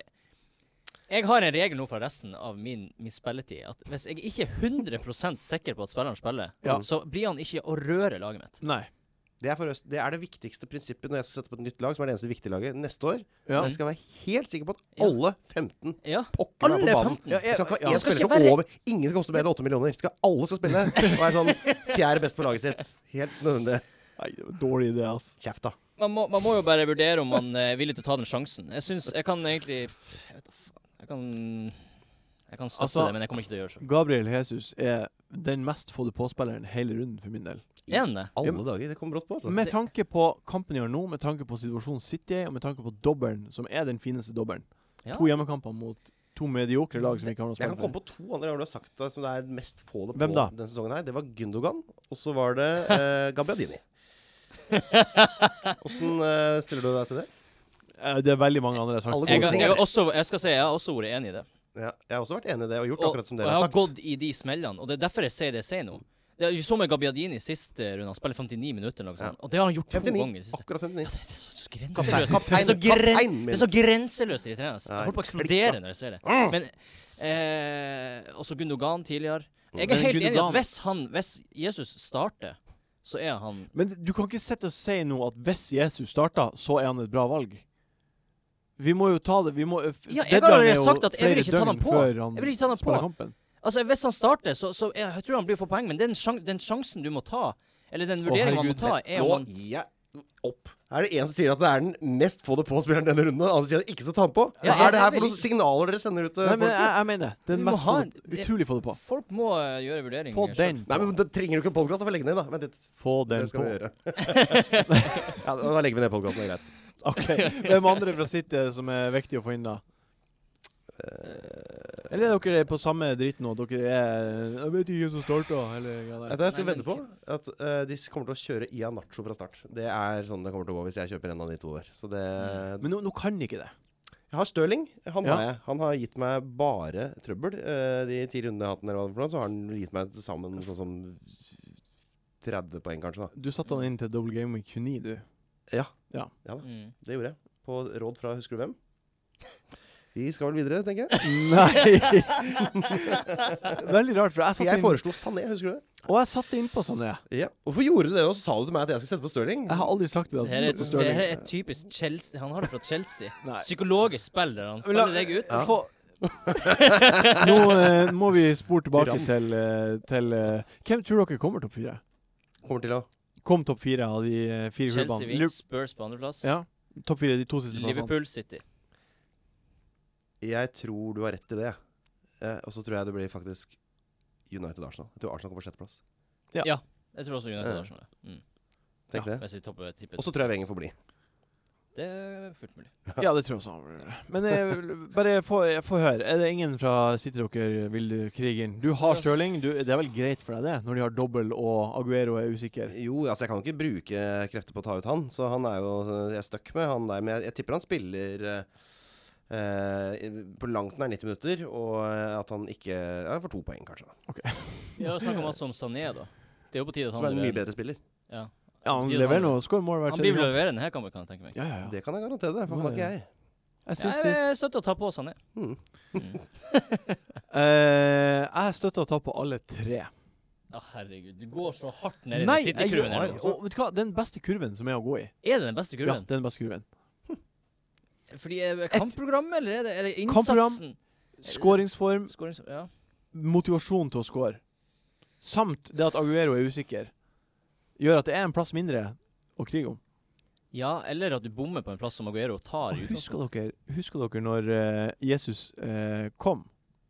jeg har en regel nå fra resten av min, min spilletid at hvis jeg ikke er 100 sikker på at spilleren spiller, Ja. så blir han ikke å røre laget mitt. Nei. Det er, forresten- det er det viktigste prinsippet når jeg skal sette på et nytt lag, som er det eneste viktige laget, neste år. Ja. Jeg skal være helt sikker Ja. på at alle 15 Ja. pokker meg Alle på banen. 15. Ja, Jeg skal ikke ha én Jeg skal spiller ikke på være- over Ingen skal koste mer enn 8 millioner. Skal alle skal spille og er sånn fjerde best på laget sitt. Helt nødvendig. Nei, det var en dårlig idé, altså. Kjeft, da. Man må, man må jo bare vurdere om man eh, er villig til å ta den sjansen. Jeg syns Jeg kan egentlig Jeg vet da faen. Jeg kan, jeg kan støtte Altså- det, men jeg kommer ikke til å gjøre så. Gabriel Jesus er den mest fådde påspilleren hele runden, for min del. Er han det? Alle dager. Det kom brått på, altså. Med tanke på kampen de har nå, med tanke på situasjonen City er i, og med tanke på dobbelen, som er den fineste dobbelen. Ja. To hjemmekamper mot to mediokre lag som ikke har noe Jeg kan spill komme for. på to andre ganger du har sagt det som det er mest få det på Hvem da? denne sesongen. her Det var Gundogan, og så var det *laughs* eh, Gabbiadini. Åssen eh, stiller du deg til det? Eh, Det er veldig mange andre jeg har Alle sagt. Jeg, før. har- jeg, har også, jeg skal si jeg har også vært enig i det. Ja, jeg har også vært enig i det og gjort Og, akkurat som og dere jeg har har sagt. gått i de smellene, og det er derfor jeg sier det jeg sier nå. Det er jo så med Gabbiadini sist eh, runde, han spiller 59 minutter eller noe sånt, og det har han gjort to 59. ganger. Siste. Akkurat 59. Det er så- så Kaptein, grenseløst. Det kaptein, er så, gren, kaptein det min. er så grenseløst irriterende. ass. Jeg Nei, holder på å klikk, eksplodere når jeg ser det. Men eh, Også Gundogan tidligere. Jeg Men er helt enig i Gundogan- at hvis, han, hvis Jesus starter, så er han Men du kan ikke sitte og si nå at hvis Jesus starter, så er han et bra valg. Vi må jo ta det Vi må f- Ja, jeg har deadline allerede er jo sagt at jeg vil flere ikke ta døgn den på. før han Jeg vil ikke ta den på. spiller kampen. Altså, hvis han starter, så, så jeg, jeg tror han blir for poeng, men den, sjang, den sjansen du må ta, eller den vurderingen man må herregud, ta, er om Nå han gir jeg opp. Er det en som sier at det er den mest få det på-spilleren denne runden? og Den andre sier at det ikke skal ta den på? Ja, Hva jeg- er det her jeg- for noen signaler dere sender ut eh, til Nei, men folk? jeg, jeg mener det. Vi Den må mest ha få en- det, utrolig få det på. Folk må eh, gjøre vurderinger. Få selv. den Nei, på. men Da trenger du ikke en podkast for å legge den ned, da. Vent litt. Få Det den skal på. vi *laughs* gjøre. *laughs* ja, da da legger vi ned podkasten, det er greit. OK. *laughs* Hvem andre fra City som er viktig å få inn, da? Eh, Eller er dere på samme dritt nå? Dere er Jeg vet ikke hvem som starta, eller hva det Vet du hva jeg skal Nei, vedde men på? At eh, de kommer til å kjøre Ia Nacho fra start. Det er sånn det kommer til å gå hvis jeg kjøper en av de to der. Så det Mm. er. Men nå, nå kan de ikke det. Jeg har Stirling. Han Ja. har jeg. Han har gitt meg bare trøbbel. eh, de ti rundene jeg har hatt den, eller hva det er for noe, så har han gitt meg til sammen sånn som 30 poeng, kanskje. da Du satte han inn til Double Game Week 29, du. Mm. Det gjorde jeg. På råd fra husker du hvem? Vi skal vel videre, tenker jeg. Nei! *laughs* Veldig rart, for jeg satte Jeg inn foreslo Sané, husker du det? Og jeg satte innpå sånn, jeg. Ja. Hvorfor gjorde du det? Og så sa du til meg at jeg skulle sette på Stirling? Jeg har aldri sagt det. Det at her, jeg er, satte det her Sterling. er et typisk Chelsea Han har det fra Chelsea. Nei. Psykologisk spill der han Men la- spiller deg ut. Ja. Få- Nå eh, må vi spore tilbake Tyrann. til, eh, til eh, Hvem tror dere kommer topp fire? Kommer til å Kom topp fire av de eh, fire Chelsea klubbene? vinner, Lu- Spurs på andreplass. Ja. Topp fire, de to siste plassene. Liverpool City. Jeg tror du har rett i det. Eh, og så tror jeg det blir faktisk United Arsenal. Jeg tror Arsenal kommer på sjetteplass. Ja. Ja. Jeg tror også United Ja. Arsenal. Mm. Tenk det. Hvis vi topper tippet. Og så tror jeg Wenger får bli. Det er fullt mulig. Ja, det tror jeg også. han vil gjøre. Men eh, vil- bare få, jeg får høre. Er det ingen fra City dere vil krige inn? Du har Stirling. Du, det er vel greit for deg, det? Når de har dobbel og Aguero er usikker. Jo, altså jeg kan jo ikke bruke krefter på å ta ut han, så han er jo Jeg er stuck med han der, men jeg, jeg tipper han spiller eh, eh, på langt nær 90 minutter, og eh, at han ikke ja, får to poeng, kanskje. da. Vi har jo snakket om alt som Sané, da. Det er jo på tide at han Som er en mye leverer. bedre spiller. Ja. Ja, han Betyr det leverer han- nå. Skår mål hver sånn- Han blir vel tredje. kamp. levere denne her kampen, kan jeg tenke meg. Ja, ja, ja. Det kan jeg garantere deg, for han var ikke jeg. Jeg Jeg syns sist jeg støtter å ta på Sané. Mm. Mm. eh, Jeg støtter å ta på alle tre. Å, herregud. Du går så hardt ned i Nei, den City-kurven her jeg nå. gjør- og vet du hva? Den beste kurven som er å gå i. Er det den beste Ja, kurven? den beste kurven. Fordi er det kampprogrammet, eller er det, er det Kampprogram. innsatsen? Skåringsform, Skårings... Ja. motivasjon til å score, samt det at Aguero er usikker, gjør at det er en plass mindre å krige om. ja, eller at du bommer på en plass som Aguero tar i Og husker *laughs* utgangspunktet. dere, husker dere når eh, Jesus eh, kom?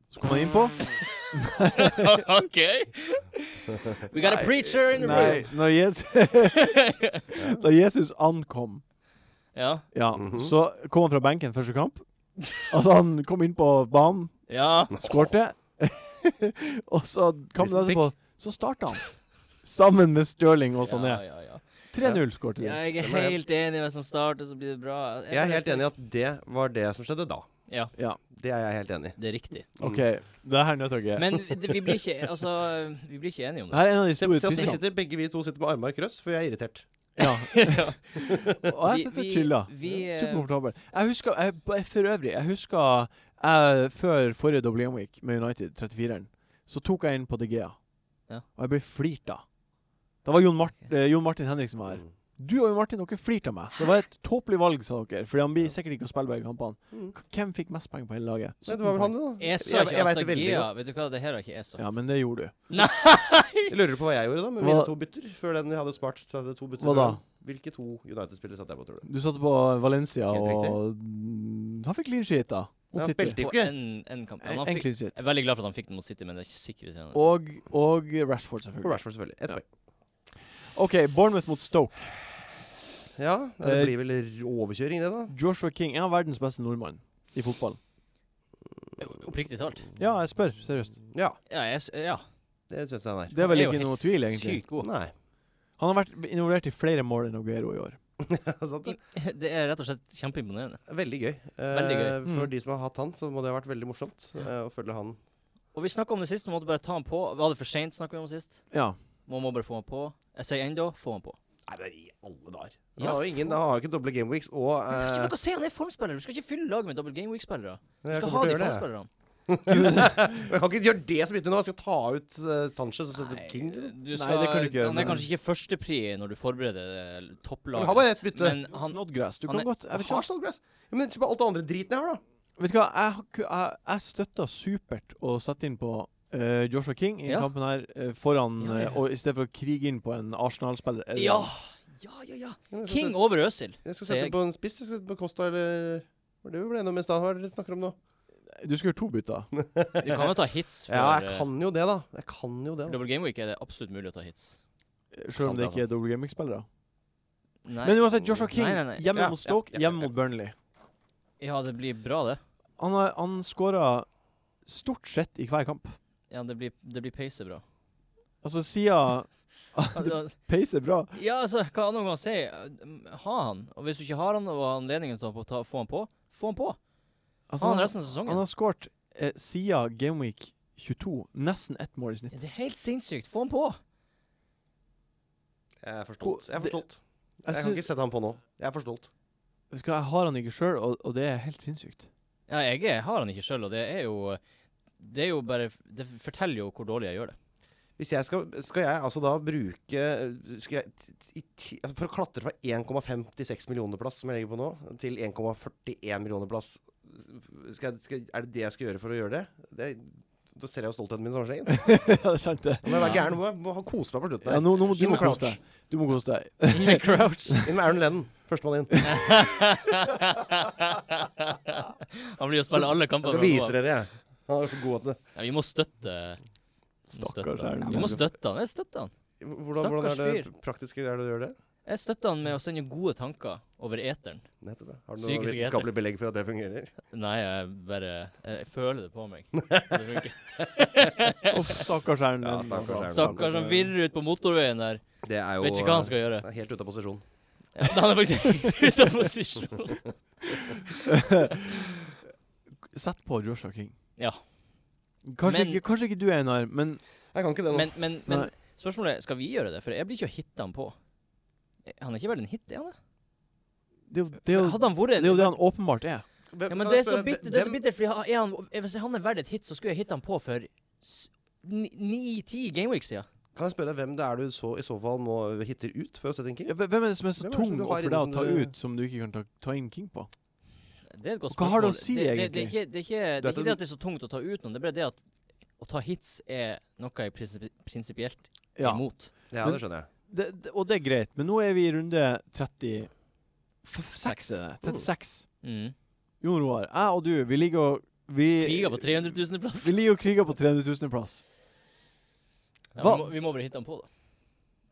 Så kom han innpå. *laughs* *laughs* OK! We got a Nei, preacher in the Nei, room. når Jesus, *laughs* da Jesus ankom, Ja. ja, Mhm. så kom han fra benken første kamp. Altså, han kom inn på banen, ja. skårte, *laughs* og så kampen Listen etterpå, så starta han. Sammen med Stirling og sånn. ja, Ja, ja, ja. 3-0 skårte de. Ja, Jeg er Stemmer det. helt enig. Hvis han starter, så blir det bra. Jeg er helt enig i at det var det som skjedde da. Ja, Ja. Det er jeg helt enig i. det er riktig. OK, det her nødt dere. Men vi vi blir ikke Altså, vi blir ikke enige om Det det. her er en av de Se, store se oss, vi tvistene. sitter, begge vi to sitter med armer i krøss, for jeg er irritert. Ja. *laughs* Ja. Og jeg Vi- sitter og vi- chiller. vi, eh, Superkomfortabel. Jeg husker jeg, b- For øvrig, jeg husker jeg, før forrige Double Game Week med United, 34-eren, så tok jeg inn på DGA. Ja. Og jeg ble flirt av. Da var Jon, Mart, eh, Jon Martin Henriksen var her. Mm. Du og Jon Martin, dere flirte av meg. Det var et tåpelig valg, sa dere. Fordi han blir sikkert ikke å spille begge kampene. Mm. K- Hvem fikk mest poeng på hele laget? Nei, det var vel han, det, da. Jeg sa Jeg- jeg ikke vet at det veldig Gea Vet du hva, det her har ikke jeg sagt. Ja, men det gjorde du. Jeg lurer på hva jeg gjorde da, med Hva- mine to bytter. Før den jeg hadde spart, så hadde jeg to bytter. Hva før da? den. Hvilke to United-spillere satte jeg på, tror du? Du satte på Valencia, Helt riktig. og mm, han fikk clean sheet, da. Ja, han spilte jo På ikke. en, en kamp. Men han En fikk, clean sheet. jeg er veldig glad for at han fikk den mot City, men det er ikke sikkert. det er han. Og, og Rashford, Og selvfølgelig. Rashford, selvfølgelig. Ett Ja. poeng. OK, Bournemouth mot Stoke. Ja, det Eh, blir vel overkjøring, det, da. Joshua King er verdens beste nordmann i fotball. Oppriktig talt. Ja, jeg spør. Seriøst. Ja, Ja, jeg, s- ja. det syns jeg han er. Det er vel jo ikke helt noe tvil, egentlig. Sykt god. Nei. *laughs* Han har vært involvert i flere mål enn Aguero i år. Sant altså, det? *laughs* Det er rett og slett kjempeimponerende. Veldig gøy. Eh, Veldig gøy. For Mm. de som har hatt han, så må det ha vært veldig morsomt eh, å følge han. Og vi snakka om det sist, vi måtte bare ta han på. Var det for seint, snakka vi om sist? Ja. Man må bare få han på. Jeg sier ennå, få han på. Nei, men i alle dager. Ja, Han har jo ingen, han har jo ikke doble Game Weeks, og Det er eh, ikke noe å si, han er formspiller. Du skal ikke fylle laget med double game week-spillere. Du jeg skal kommer ha de til å gjøre det. formspillerne. Jeg kan ikke gjøre det så mye til nå. Jeg skal ta ut eh, Sanchez og sette Nei, eh, King. liksom. du Nei, skal, det kan du ikke gjøre, Han er men- kanskje ikke førstepri når du forbereder eh, Men topplaget. ha bare ett bytte. Men han, Snodgrass. Du han kan er- godt jeg Jeg vet, ikke, har Snodgrass. Ja, Men se på alt det andre driten jeg har, da. vet du hva, jeg, har ku- jeg, jeg støtta supert å sette inn på eh, Joshua King i Ja. kampen her eh, foran Ja, ja. eh, Og i stedet for å krige inn på en Arsenal-spiller. eh, eller- ja! Ja, ja, ja. Ja, men jeg skal King sette- over Øsil. Jeg skal Så sette jeg- på en spiss. Jeg skal sette på Costa eller Hva er det vi ble enige om i stad? Hva er det dere snakker om nå? Du skulle gjøre to bytter. Du kan jo ta hits for Ja, jeg eh, kan jo det, da. Jeg kan jo det. Da. Double Game Week er det absolutt mulig å ta hits. Selv om det Sant, ikke er double gaming-spillere. Nei. Men uansett, Joshua King Nei, nei, nei. hjemme Ja, mot Stoke, ja, ja, ja, hjemme ja. mot Burnley. Ja, det blir bra, det. Han, har- han skåra stort sett i hver kamp. Ja, Det blir, det blir peise bra. Altså, Altså siden Pace er bra. Ja, altså, hva annet kan man si? Eh, Ha han. Og hvis du ikke har han og har anledningen til å få- ta, få han på, få han på. Altså, Ha han han, resten av han sesongen. har skåret eh, siden Gameweek 22 nesten ett mål i snitt. Ja, Det er helt sinnssykt. Få han på. Jeg er for stolt. Jeg er for Det- stolt. Jeg Jeg kan ikke sette ham på nå. Jeg er for stolt. Vet du hva, jeg har han ikke sjøl, og, og det er helt sinnssykt. Ja, jeg er, har han ikke sjøl, og det er jo Det er jo bare Det forteller jo hvor dårlig jeg gjør det. Hvis jeg skal, skal jeg altså da bruke skal jeg, t- t- i ti, altså For å klatre fra 1,56 millioner plass som jeg ligger på nå, til 1,41 millioner plass skal jeg, skal, Er det det jeg skal gjøre for å gjøre det? det da ser jeg jo stoltheten min i sammenhengen. ja, det er sant, det. Nå må jeg være gæren, nå må jeg må ha- kose meg på slutten. Ja, her. nå, nå må, du Jim må kose Crouch. deg. Du må kose deg. *laughs* Inn med Crouch. Inn med Aaron Lennon. Førstemann inn. Han blir jo spille alle kamper. fra nå Jeg skal vise av. dere, jeg. Han er så god at det Ja, vi må støtte vi må støtte Stakkars han. Erlend. Vi må støtte han. Jeg støtter han. Hvordan, hvordan er Stakkars det praktiske er det å gjøre det? Jeg støtter han med å sende gode tanker over eteren. Nettopp. ja. Har du noe Psykiske vitenskapelig belegg for at det fungerer? Nei, jeg bare Jeg føler det på *laughs* meg. Det funker. Uff, stakkars Erlend. Ja, stakkars Erlend. Stakkars som virrer ut på motorveien der. Det er jo Vet ikke hva han skal gjøre. eh, Helt ute av posisjon. Ja, han er faktisk *laughs* ute av *laughs* posisjon. *laughs* Sett på Joshua King. Ja. Kanskje, Men- ikke, kanskje ikke du er en arm, men Jeg kan ikke det nå. Men, men, men Nei. spørsmålet er, skal vi gjøre det? For jeg blir ikke å hitte han på. Han er ikke vel en hit, er han det? det er jo det, er jo, Hadde han vært det, en er jo det han åpenbart er. Hvem- Ja, men kan det jeg er så spørre, bittert, det er så hvem- bittert fordi han, er han, hvis han er verdt et hit, så skulle jeg hitte han på for s- ni- ni-ti gameweeks siden. Kan jeg spørre hvem det er du så, i så fall nå hitter ut for å sette Ja, en king? hve- Hvem er det som er så Hvem er det som tung du og har for inne deg å som ta du- ut, som du ikke kan ta, ta inn King på? Det er et godt Hva spørsmål. har det å si, det, det, det, er egentlig? ikke, det, er ikke, det Du er ikke vet at- det at det er så tungt å ta ut noen, det er bare det at å ta hits er noe jeg prinsipi- prinsipielt Ja. imot. Ja, Men- det skjønner jeg. Det, det, og det er greit, men nå er vi i runde 36. Seks. er det. 36. Mm. Jon Roar, jeg og du, vi ligger og vi, Kriga på 300 000 plass. vi ligger og kriger på 300 000 plass. Ja, vi, Hva- må, vi må bare hitte han på, da.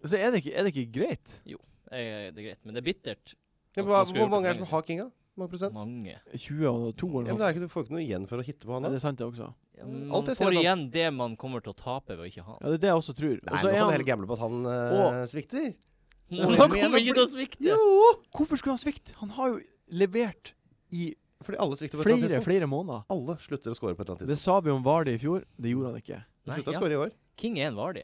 Så er det ikke, er det ikke greit? Jeg, jeg, det er greit, men det er bittert. Ja, at hva, man skulle hvor gjort mange er det for som har kinga? Hvor Mange prosent? Mange. 20 og 2 eller noe Ja, men det er sånt. ikke, du får ikke noe igjen for å hitte på han. Ja, sånn da. det er sant, det også. Ja, Mm, Man alt jeg sier er får sant. igjen det man kommer til å tape ved å ikke ha han. Ja, det er det jeg også tror. Og Nei, så er nå kan du han- heller gamble på at han Å. eh, svikter. Man men kommer det ikke til å svikte. Jo! Hvorfor skulle han svikte? Han har jo levert i Fordi alle svikter på et eller annet flere, tidspunkt. flere måneder. Alle slutter å score på et eller annet Det tidspunkt. sa vi om Vardy i fjor, det gjorde han ikke. De Nei, slutta å ja. score i år. King er en Vardy.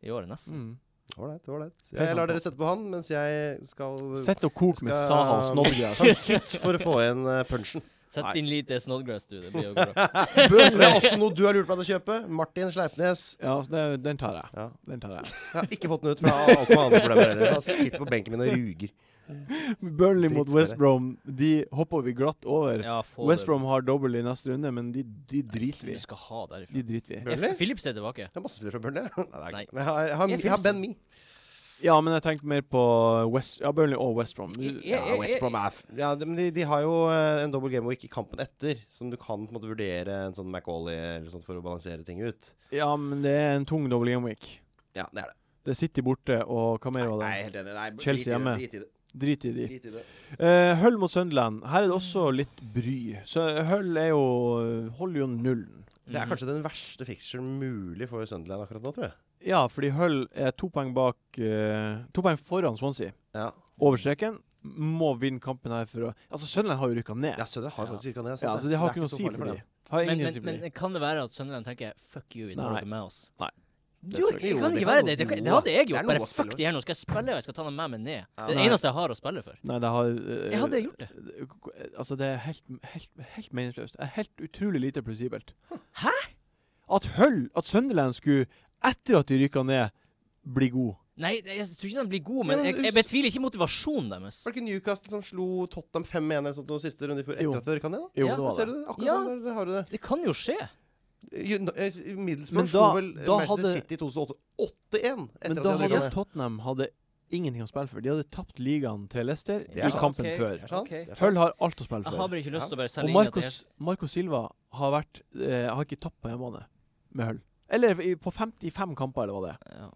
I året, nesten. Mm. Ålreit, ålreit. er sant, Jeg lar da. dere sette på han mens jeg skal Sett og kok med skal- Saha og altså. Snodgrass. ta *laughs* kutt for å få igjen eh, punchen. Sett Nei. din lit til Snodgrass, du. Det blir jo *laughs* bra. Det er også noe du har lurt meg til å kjøpe. Martin Sleipnes. Ja, så det, den tar jeg. Ja. Den tar jeg. Jeg har ikke fått den ut, for jeg har altfor mange andre problemer heller. Han sitter på benken min og ruger. *laughs* Burnley mot Dritspillere. West Brom, de hopper vi glatt over. Ja, få West det. Brom har dobbel i neste runde, men de, de driter Hvem vi Du skal ha derifra. De driter vi i. Burnley? Eh, Philips er tilbake. Det er masse spillere fra Burnley. Nei, det *laughs* er Nei. ikke- Men jeg har, jeg har, Jeg er jeg har Ben Me. Ja, men jeg tenkte mer på West, ja, Burnley og West Brom. Jeg- jeg- Ja, jeg- West Brom er f- ja, de, men de, de har jo eh, en double game week i kampen etter, som du kan på en måte vurdere en sånn McAuley eller sånt for å balansere ting ut. Ja, men det er en tung double game week. Ja, det er det. Det er City borte, og hva mer var Nei, det? jeg er helt enig. Nei, Chelsea drit i det, hjemme. Drit i det. Drit i de. Drit i det. Eh, Hull mot Sunderland. Her er det også litt bry. Så Hull er jo eh, holder jo nullen. Det er kanskje den verste fixturen mulig for Sunderland akkurat nå, tror jeg. Ja, fordi Hull er to poeng bak eh, To poeng foran Swansea. Ja, Over streken. Må vinne kampen her for å Altså, Sunderland har jo rykka ned. ja Sunderland har faktisk cirka det. jeg har sett Ja, altså. det. så det har ikke noe så å si farlig for dem. dem. Har men, ingenting å si men, for dem. men kan det være at Sønderland tenker 'fuck you', vi tar Nei. dere med oss? Nei. Det, jo, tror jeg det kan ikke ikke. Jo, det kan være være det. Det, kan, det noe. hadde jeg Det er gjort. noe Bare å fuck spille de her, nå skal jeg spille, og jeg skal ta dem med meg ned. Det Ja, er det nei. eneste jeg har å spille for. Nei, det har eh, Jeg hadde gjort det. Altså, det er helt, helt, helt meningsløst. Det er Helt utrolig lite plausibelt. Hæ?! At Hull, at Sunderland skulle, etter at de rykka ned, bli god. Nei, det- jeg tror ikke de blir gode, Ja, men men jeg, jeg us- betviler ikke motivasjonen deres. Var det ikke Newcastle som slo Tottenham 5-1 eller sånt noe siste runde i fjor? Jo. Etter at dere kan det, da? Jo, Ja, det var Ser det. du det? Akkurat Ja. der, der har du det. Det kan jo skje. Ju- eh, Men Middlesbrough da- slo vel da Manchester hadde- City i 2008 8-1 etter Men da at de hadde hadde rykka ned. Tottenham hadde ingenting å spille for. De hadde tapt ligaen til Leicester Det er i sant. kampen Ok, før. Det er sant, ok. det er sant. Hull har alt å spille Jeg har for. bare ikke lyst til å bare Og selge inn at jeg Marcos, Marco Silva har, vært, eh, har ikke tapt på hjemmebane med Hull. Eller i- på 55 kamper, eller hva det er. Ja.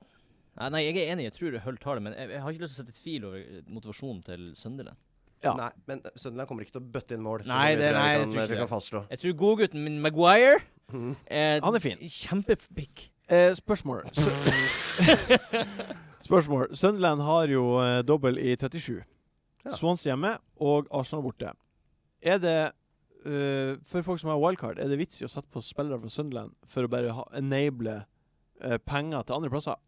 Nei, Nei, jeg er enig, jeg tror Hull tar det, men jeg, jeg har ikke lyst til å sette tvil over eh, motivasjonen til Sunderland. Ja. Nei, men eh, Sunderland kommer ikke til å bøtte inn mål. Nei, det- nei, jeg kan, tror ikke dere det. kan fastslå. Jeg tror godgutten min Maguire Mhm. eh, Han er fin. Kjempepick. Eh, spørsmål. *laughs* spørsmål. Sunderland har jo eh, dobbel i 37. Ja. Swans hjemme og Arsenal borte. Er det eh, For folk som har wildcard, er det vits i å sette på spillere fra Sunderland for å bare ha, enable eh, penger til andre plasser?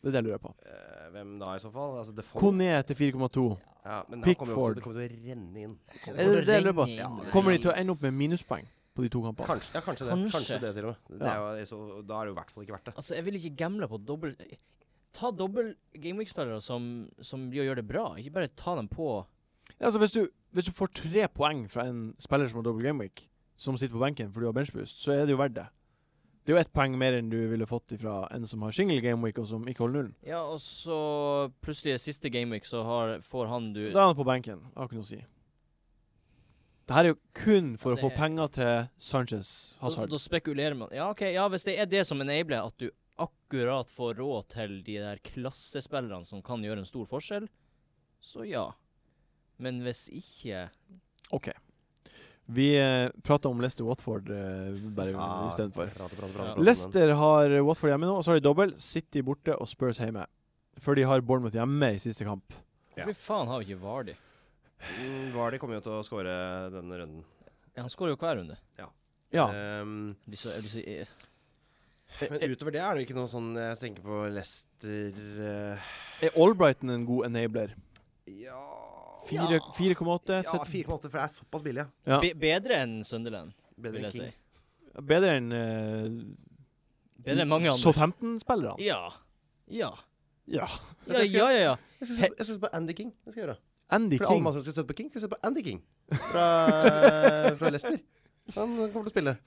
Det er det jeg lurer på. Eh, hvem da, i så fall? Altså, Defoe. Kone til 4,2. Ja, men han kommer Pickford. jo til, det kommer til å renne inn. Er det det jeg lurer på? Regning. Ja, det- Kommer de til å ende opp med minuspoeng på de to kampene? Kanskje, ja, kanskje, det. Kanskje. Kanskje det, til og med. Det er jo, så, da er det jo i hvert fall ikke verdt det. Altså, jeg vil ikke gamble på dobbel Ta dobbel Gameweek-spillere som, som blir å gjøre det bra. Ikke bare ta dem på Ja, altså hvis, du, hvis du får tre poeng fra en spiller som har dobbel gameweek, som sitter på benken fordi du har benchboost, så er det jo verdt det. Det er jo ett poeng mer enn du ville fått fra en som har single gameweek, og som ikke holder nullen. Ja, og så plutselig i siste Gameweek så har, får han du Da er han på benken. Det har ikke noe å si. Det her er jo kun for Ja, å få det er- penger til Sanchez da, Hazard. da spekulerer man. Ja, ok, ja, hvis det er det som enabler at du akkurat får råd til de der klassespillerne som kan gjøre en stor forskjell, så ja. Men hvis ikke OK. Vi eh, prater om Leicester Watford eh, bare Ja, istedenfor. prate, prate, prate, Ja. prate, men- Leicester har Watford hjemme nå, og så har de dobbel. City borte og Spurs hjemme. Før de har Bournemouth hjemme i siste kamp. Ja. Hvorfor faen har vi ikke Vardy? Mm, Vardy kommer jo til å skåre denne runden. Han skårer jo hver runde. eh, Ja. Ehm, Jeg blir så, jeg blir så, jeg, men eh, utover det er det ikke noe sånn Jeg tenker på Leicester eh, Er Albrighton en god enabler? Ja Fire- 4,8. Ja, sett- 4,8, for det er såpass billig. Ja. Ja. be, bedre enn Sunderland, Bedre vil enn jeg si. King. Bedre enn eh, Bedre enn mange andre. Southampton-spillerne. Ja. Ja. Ja. Ja, ja, ja. ja. Jeg skal se på- jeg skal se på Andy King. Det skal jeg gjøre. Andy For alle King. massene skal sette på King, skal sette på Andy King fra, eh, fra Leicester. Han kommer til å spille.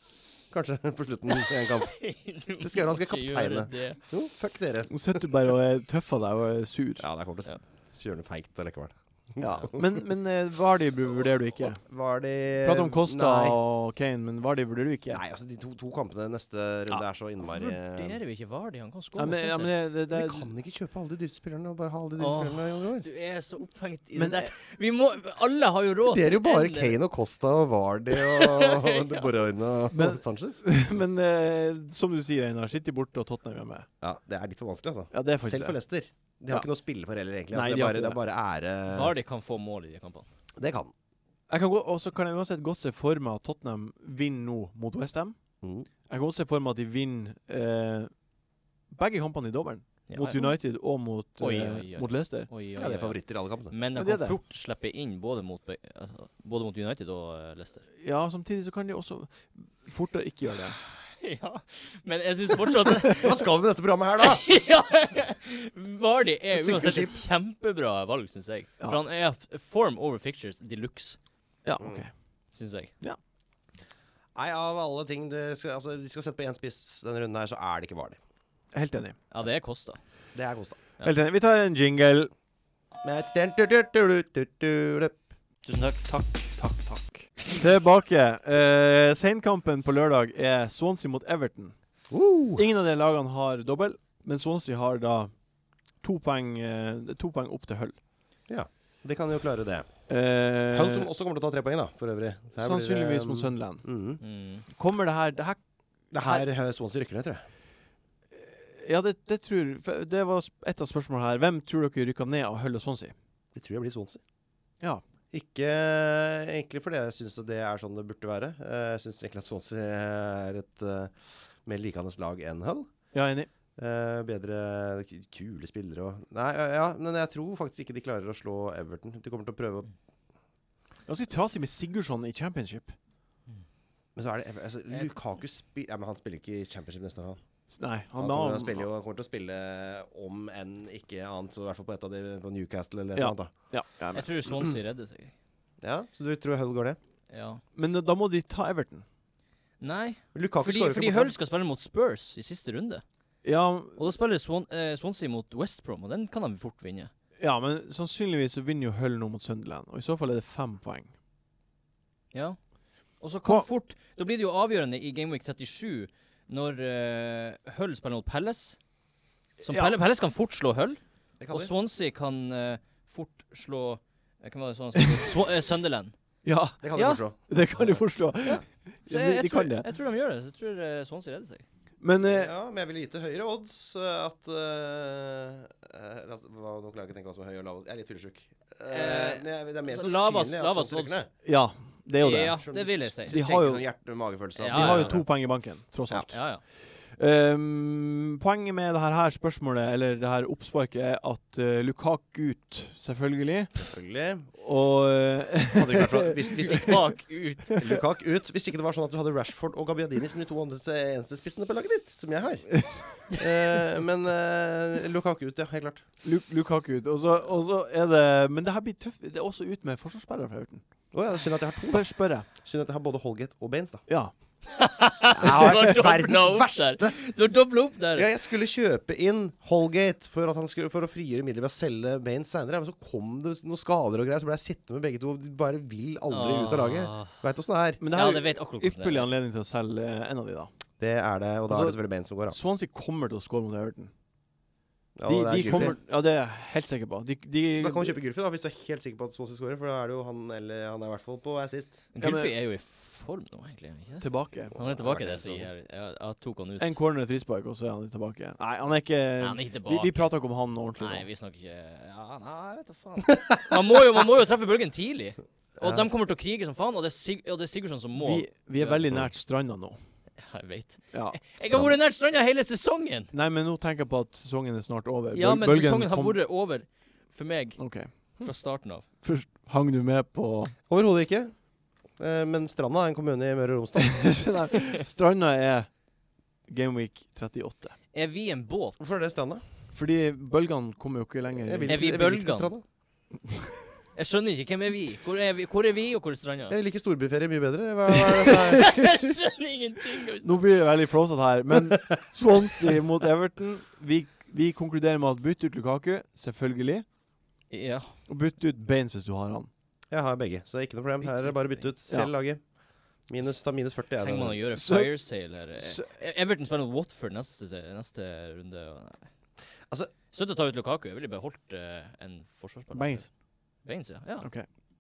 Kanskje *laughs* på slutten i en kamp. Det skal jeg gjøre, han skal kapteine. Det. Jo, fuck dere. Nå sitter du bare og er tøff av deg og er sur. Ja, det kommer til Ja. å kjøre noe feigt allikevel. Ja. Men, men eh, Vardy bur- vurderer du ikke? Var de Prate om Costa Eh, Nei. og Kane, men Vardy vurderer du ikke? Nei, altså de to, to kampene neste runde er så innmari eh, Vurderer vi ikke Vardy? Han kan Ja, skåre. men, ja, men det, det, Vi det, kan ikke kjøpe alle de dyre spillerne og bare ha alle de dyre Åh. spillerne i alle år. Du er så opphengt i Men- det der. Vi må Alle har *laughs* jo råd Det er jo bare en- Kane og Costa og Vardy og De Bruyne Men- og Sanchez. men eh, som du sier, Einar, City borte og Tottenham hjemme. Ja, det er litt for vanskelig, altså. Ja, det er Selv faktisk for det. Leicester. De har Ja. ikke noe å spille for heller, egentlig. Nei, Altså, de det, har er bare, det er bare ære. Vardy kan få mål i de kampene. Det kan. Jeg kan gå, og så kan jeg uansett godt se for meg at Tottenham vinner nå mot Westham. Mm. Jeg kan også se for meg at de vinner eh, begge kampene i dobbelen. Ja, Mot ja. United og mot, Oi, eh, oi, oi. mot Leicester. Oi, oi, Ja, de oi. er favoritter i alle kampene. Men de Ja, det er det. kan fort slippe inn både mot, be- altså, både mot United og eh, Leicester. *laughs* Ja, samtidig så kan de også fortere ikke gjøre det. ja, men jeg syns fortsatt Hva skal vi med dette programmet *laughs* her, da? *laughs* ja, Vardy er Synker uansett skip. et kjempebra valg, syns jeg. Ja. For han er f- form over fictures de luxe, Ja, ok. Mm. syns jeg. Nei, Av alle ting dere skal, altså, de skal sette på én spiss denne runden, her, så er det ikke Vardy. Helt enig. Ja, det koster. Det er Kosta. Ja. Helt enig. Vi tar en jingle. Men- du-du-du-du-du-du. Tusen takk. Takk, takk, takk. Tilbake. Eh, Seinkampen på lørdag er Swansea mot Everton. Uh, Ingen av de lagene har dobbel, men Swansea har da to poeng, eh, det er to poeng opp til Hull. De kan jo klare det. Eh, Han som også kommer til å ta tre poeng, da, for øvrig. Så her blir det, sannsynligvis mot um, Sunderland. Mm. Mm. Kommer det her, det her Det her eh, Swansea rykker ned, tror jeg. Ja, det, det tror for Det var sp- et av spørsmålene her. Hvem tror dere rykker ned av Hull og Swansea? Det tror jeg blir Swansea. Ja. Ikke eh, egentlig fordi jeg syns det er sånn det burde være. Eh, Jeg syns egentlig at Swansea er et eh, mer likende lag enn Hull. Ja, enig. Eh, bedre k- kule spillere og Nei, ja, ja, men jeg tror faktisk ikke de klarer å slå Everton. De kommer til å prøve å Ganske trasig med Sigurdsson i championship. Men så er det Ever- altså, Jeg- Lukaku spi ja, men han spiller ikke i Championship neste år, han. S- Nei, han, Han, kommer, han spiller jo, han kommer til å spille om enn ikke annet, så i hvert fall på et av de på Newcastle eller et Ja. eller annet. Ja, jeg er med. Jeg tror Swansea redder seg. da Ja, Så du tror Hull går ned? Ja. Men da må de ta Everton. Nei, Lukaku fordi, skårer jo fordi ikke på Hull skal spille mot Spurs i siste runde. Ja, Og da spiller Swan, eh, Swansea mot West Brom, og den kan de fort vinne. ja, men sannsynligvis så vinner jo Hull nå mot Sunderland, og i så fall er det fem poeng. Ja. Og så kan Hva- fort Da blir det jo avgjørende i Gameweek 37 når eh, Hull spiller mot Palace. Som Ja. Pelle, Palace kan fort slå Hull, Det og kan de. Swansea kan eh, fort slå eh, Hvem var det sånn som *laughs* Swa- eh, Sunderland. Ja, *laughs* Det kan de Ja. forstå. det kan du forstå. Så de, jeg, jeg, de tror, kan det. jeg tror de gjør det. Så jeg tror eh, Swansea redder seg. Men eh, Ja, men jeg ville gitt det høyere odds eh, at eh, eh, altså, hva, Nå klarer jeg ikke å tenke hva som er høy og lav odds. Jeg er litt fyllesyk. Eh, Eh, men jeg- det er mer altså, sannsynlig lavest- at lavest Swansea rykker odds. ned. ja, Det er jo det. Ja, det vil jeg si. De har jo- Tenker sånn hjerte-magefølelse. De Ja, har ja, jo to poeng i banken, tross Ja. alt. Ja, ja. Ehm, poenget med det her, her spørsmålet, eller det her oppsparket, er at eh, Lukaku ut, selvfølgelig, Selvfølgelig. og eh, Hadde det ikke vært for, hvis, hvis, ikke, *laughs* Bak ut. Lukak ut. Hvis ikke det var sånn at du hadde Rashford og Gabbiadini som de to andre eneste spissene på laget ditt, som jeg har. Eh, men eh, Lukaku ut, ja. Helt klart. Lu- Lukaku ut. Og så, og så er det Men det her blir tøft. Det er også ut med forsvarsspillere fra Hurton. Å ja, synd at jeg har to. Spør, spør jeg. da. Synd at jeg har både Holgate og Baines, da. Ja. har verdens doblet opp der. Du har dobla opp der. Ja, jeg skulle kjøpe inn Holgate for, at han skulle, for å frigjøre midler ved å selge Baines seinere. Men så kom det noen skader og greier, så ble jeg sittende med begge to. De bare vil aldri ut av laget. Ah. Veit åssen det er. Men det Ja, her det er vet akkurat hvordan ypperlig det er. anledning til å selge eh, en av de, da. Det er det, og da er det Altså, selvfølgelig Baines som går av. Swansea kommer til å score mot Everton. Ja, De, og det er de Gylfi. kommer, ja, det er jeg helt sikker på. De, de, Da kan du kjøpe Gylfi, da, hvis du er helt sikker på at Swansea scorer. For da er det jo han eller han er i hvert fall på assist. Ja, men- Gulfi er jo i form nå, egentlig. er han Ikke? det? tilbake. Han er tilbake det, så jeg, jeg, jeg tok han ut. En corner, et frispark, og så er han tilbake. Nei, han er ikke Nei, han er ikke Vi, vi tilbake. prata ikke om han ordentlig Nei, nå. vi snakker ikke Ja, nei, jeg vet da faen. *laughs* Man må jo, man må jo treffe bølgen tidlig. Og de kommer til å krige som faen, og det er, Sig og det er Sigurdsson som må Vi, vi er Ja. veldig nært stranda nå. Ja, Jeg vet. Ja. Jeg har vært nært stranda hele sesongen! Nei, men nå tenker jeg på at sesongen er snart over. Ja, Bøl- men bølgen sesongen har kom- vært over for meg OK. fra starten av. Først hang du med på Overhodet ikke. Eh, Men Stranda er en kommune i Møre og Romsdal. Nei, Stranda er Gameweek 38. Er vi en båt? *laughs* Hvorfor er det Stranda? Fordi bølgene kommer jo ikke lenger. Jeg vil Er ikke- vi jeg vil ikke bølgene? til Stranda. Jeg skjønner ikke. Hvem er vi? Hvor er vi, hvor er vi og hvor er *laughs* stranda? Jeg liker storbyferie mye bedre. Hva, hva er det? Jeg skjønner ingenting. Nå blir det veldig flåsete her, men Swansea mot Everton Vi, vi konkluderer med at bytt ut Lukaku, selvfølgelig. Ja. Og bytt ut Baines hvis du har han. *laughs* Jeg har begge, så ikke noe problem. Her er det bare å bytte ut. Selv laget. Minus, ta minus 40. Er Trenger man å det. gjøre Så- fire sale her? så- Eh, Everton spiller mot Watford neste, neste runde. og Nei. Altså- Slutt å ta ut Lukaku. Jeg ville beholdt eh, en forsvarsspiller. Baines. Baines, ja. ja. OK.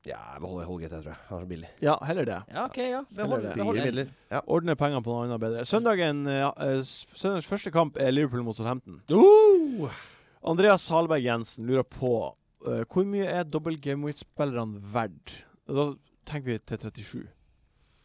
Ja, beholder Holgate, jeg tror jeg. Han er så billig. Ja, heller det. Ja, OK, ja. Spiller Behold, det. behold Billige en. midler. Ja. Ordne pengene på noe annet bedre. Søndagen, eh, eh, s- søndagens første kamp er Liverpool mot Southampton. Uh! Oh! Andreas Salberg Jensen lurer på eh, hvor mye er dobbel Gameweek-spillerne verdt? Og Da tenker vi til 37.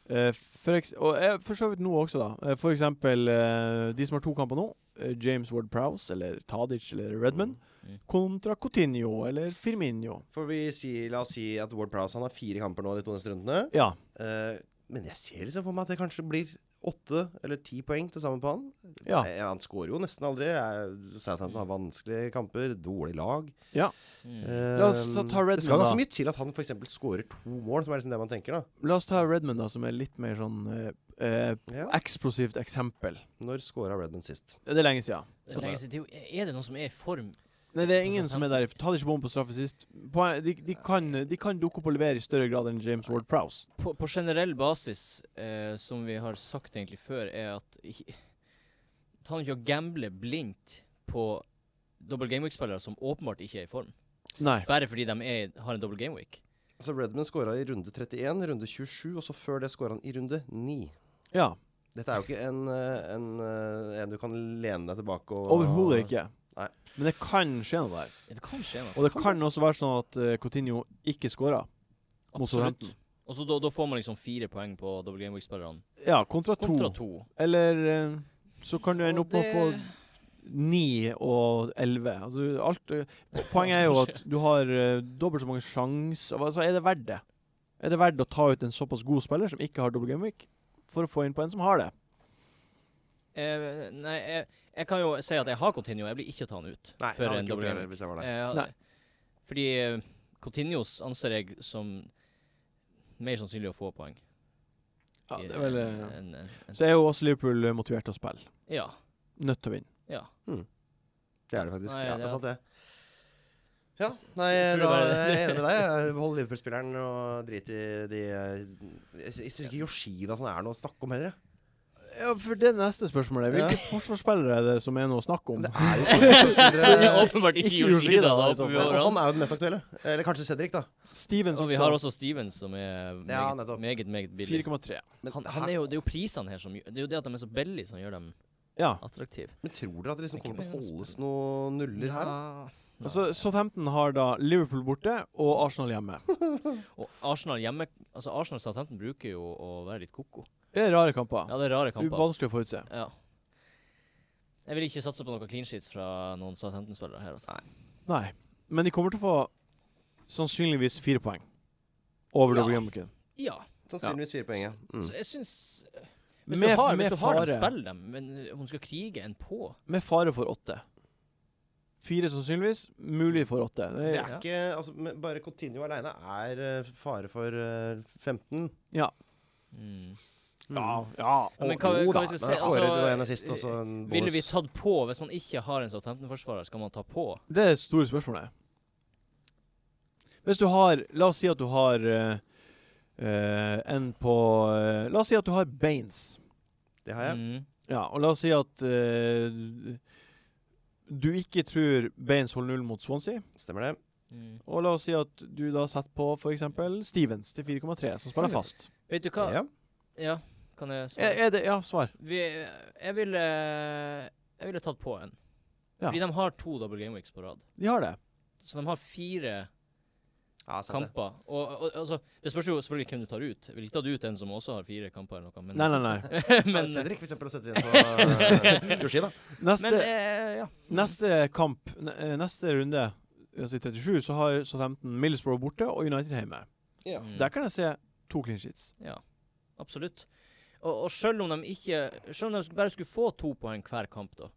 Eh, for eks og eh, for så vidt nå også, da. Eh, for eksempel eh, de som har to kamper nå. eh, James Ward-Prowse eller Tadic eller Redman Mm. kontra Coutinho eller Firminho. For vi sier, la oss si at Ward Prowse han har fire kamper nå de to neste rundene. Ja. Eh, men jeg ser liksom for meg at det kanskje blir åtte eller ti poeng til sammen på han. Ja. Nei, Eh, han skårer jo nesten aldri. Jeg- Southampton har vanskelige kamper, dårlig lag. ja. Mm. La oss ta- ta Eh, Redmond, Det skal da. ganske mye til at han f.eks. skårer to mål, som er liksom det man tenker, da. La oss ta Redman, da, som er litt mer sånn eh, eh, eksplosivt eksempel. Eh, Når skåra Redmond sist? Det er lenge siden. Det er lenge siden. Det er jo- Er det noen som er i form? Nei, det er ingen som er der. Ta det ikke bom på straffe sist. Poen- De, de, kan, de kan dukke opp og levere i større grad enn James Ward Prowse. På, på generell basis, eh, som vi har sagt egentlig før, er at i- Ta nå ikke og gamble blindt på dobbel gameweek-spillere som åpenbart ikke er i form. Nei. Bare fordi de er, har en dobbel gameweek. Altså Redmond skåra i runde 31, runde 27, og så før det skåra han i runde 9. Ja. Dette er jo ikke en, eh, en, eh, en du kan lene deg tilbake og Overhodet ikke. Nei. Men det kan skje noe der. Ja, Det kan skje noe. Og det kan også være sånn at eh, Coutinho ikke scorer. mot Absolutt. Southampton. Og så da, da får man liksom fire poeng på double gameweek-spillerne. Ja, kontra to. Kontra to. Eller eh, så kan du ende Og opp med å få det- ni og elleve. Altså alt eh, Poenget er jo at du har eh, dobbelt så mange sjanser. Altså, er det verdt det? Er det verdt å ta ut en såpass god spiller som ikke har double gameweek, for å få inn på en som har det? Eh, nei, jeg, jeg kan jo si at jeg har Coutinho. Jeg blir ikke å ta han ut. Nei, jeg før en hadde ikke gjort double det gameweek. heller hvis jeg var Eh, der. Nei. fordi eh, Coutinhos anser jeg som mer sannsynlig å få poeng. Ja, i det er vel en- eh, en- en- en- Så er jo også Liverpool eh, motivert til å spille. Ja. Nødt til å vinne. ja. Det er det faktisk. Nei, ja, det er- det er sant, det. Ja, nei, Jeg da tror det er jeg enig med deg. Jeg Hold Liverpool-spilleren og drit i de eh, Jeg syns ikke Yoshida sånn er noe å snakke om heller. jeg. Ja, for det neste spørsmålet. Ja. Hvilke forsvarsspillere er det som er noe å snakke om? *laughs* Det er jo *laughs* forsvarsspillere- åpenbart ikke Yoshida, da, oppe i så ved Men hverandre. han er jo den mest aktuelle. Eller kanskje Cedric, da. Steven Og som vi har sa også Stevens, som er meget, Ja, nettopp. meget, meget billig. 4,3. Men, Han, han er jo, det er jo prisene her som gjør Det er jo det at de er så billige, som gjør dem Ja. attraktive. men tror dere at det liksom Ikke kommer til å Benz. holdes noen nuller her? da? Ja. Altså, Southampton har da Liverpool borte og Arsenal hjemme. Og Arsenal hjemme Altså Arsenal Southampton bruker jo å være litt koko. Det er rare kamper. Ja, det er rare kamper. Vanskelig å forutse. Ja. Jeg vil ikke satse på noen clean sheets fra noen Southampton-spillere her. Altså. Nei. Men de kommer til å få sannsynligvis fire poeng over Ja. Double Gambican. Ja. Sannsynligvis fire poeng, ja. Mm. Så jeg syns Hvis Med, du har, hvis med, du har dem, fare- spill dem. Men om du skal krige en på med fare for åtte. Fire sannsynligvis, mulig for åtte. Det Det er, er Ja. ikke altså, men Bare Coutinho alene er eh, fare for eh, 15. ja. mm. ja. Ja. Ja, men Å, hva, jo hva da, vi skal men se jeg skårer, altså, det var en assist, og så en Ville vi bonus. tatt på Hvis man ikke har en Southampton-forsvarer, skal man ta på? Det er det store spørsmålet. Hvis du har La oss si at du har eh, eh, en på eh, La oss si at du har Baines. Det har jeg. Mm. Ja, og la oss si at eh, du ikke tror Baines holder null mot Swansea. Stemmer det. Mm. Og la oss si at du da setter på f.eks. Stevens til 4,3, som spiller fast. Vet du hva? Ja. Ja, kan jeg svare? Er, er det, ja, svar. Vi, jeg ville Jeg ville tatt på en. Ja. Fordi de har to double game weeks på rad. De har det. Så de har fire Ja, sant det. kamper. Og, og altså, det spørs jo selvfølgelig hvem du tar ut. Jeg ville ikke tatt ut en som også har fire kamper eller noe, men, Nei, nei, nei. Men, men, Cedric, for eksempel, å *laughs* sette inn på Yoshi, da. Neste, men eh, ja. neste kamp, ne- eh, neste runde, altså i 37, så har Southampton Middlesbrough borte og United hjemme. Ja. Mm. Der kan jeg se to clean sheets. Ja, absolutt. Og, og selv om de ikke Selv om de bare skulle få to poeng hver kamp, da,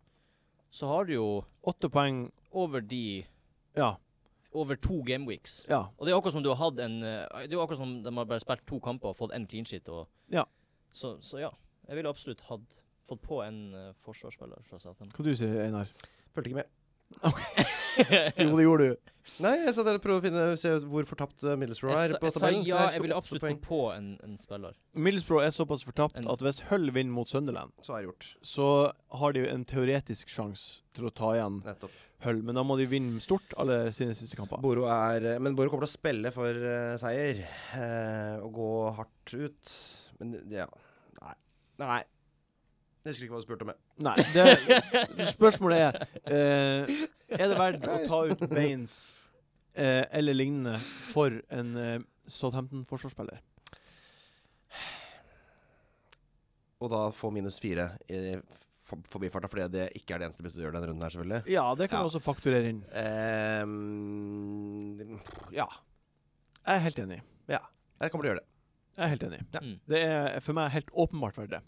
så har du jo Åtte poeng over de Ja. Over to gameweeks. Ja. Og det er jo akkurat som du har hatt en eh, Det er jo akkurat som de har bare spilt to kamper og fått én clean sheet. Og, Ja. Så, så ja. Jeg ville absolutt hatt fått på en eh, forsvarsspiller fra Southampton. Hva du sier du, Einar? *laughs* Fulgte ikke med. Jo, det gjorde du. Nei, jeg satt der og prøvde å finne se hvor fortapt eh, Middlesbrough Jeg, er sa- på jeg sa tabellen. ja, Der står jeg ville åtte absolutt poeng. fått på en, en spiller. Middlesbrough er såpass fortapt En- at hvis Hull vinner mot Sunderland, Så er det gjort. så har de jo en teoretisk sjanse til å ta igjen Nettopp. Hull, men da må de vinne stort alle sine siste kamper. Boro er eh, Men Boro kommer til å spille for eh, seier. eh, og gå hardt ut. Men ja Nei. Nei. Jeg husker ikke hva du spurte om. jeg. Nei, *laughs* det, spørsmålet er eh, Er det verdt å ta ut Baines eh, eller lignende for en eh, Southampton-forsvarsspiller? Og da få minus fire i for- forbifarta, fordi det ikke er det eneste byttet du gjør denne runden her, selvfølgelig. Ja, det kan Ja. jeg også fakturere inn. Eh, ja. Jeg er helt enig. Ja. Jeg kommer til å gjøre det. Jeg er helt enig. Ja. Mm. Det er for meg helt åpenbart verdt det.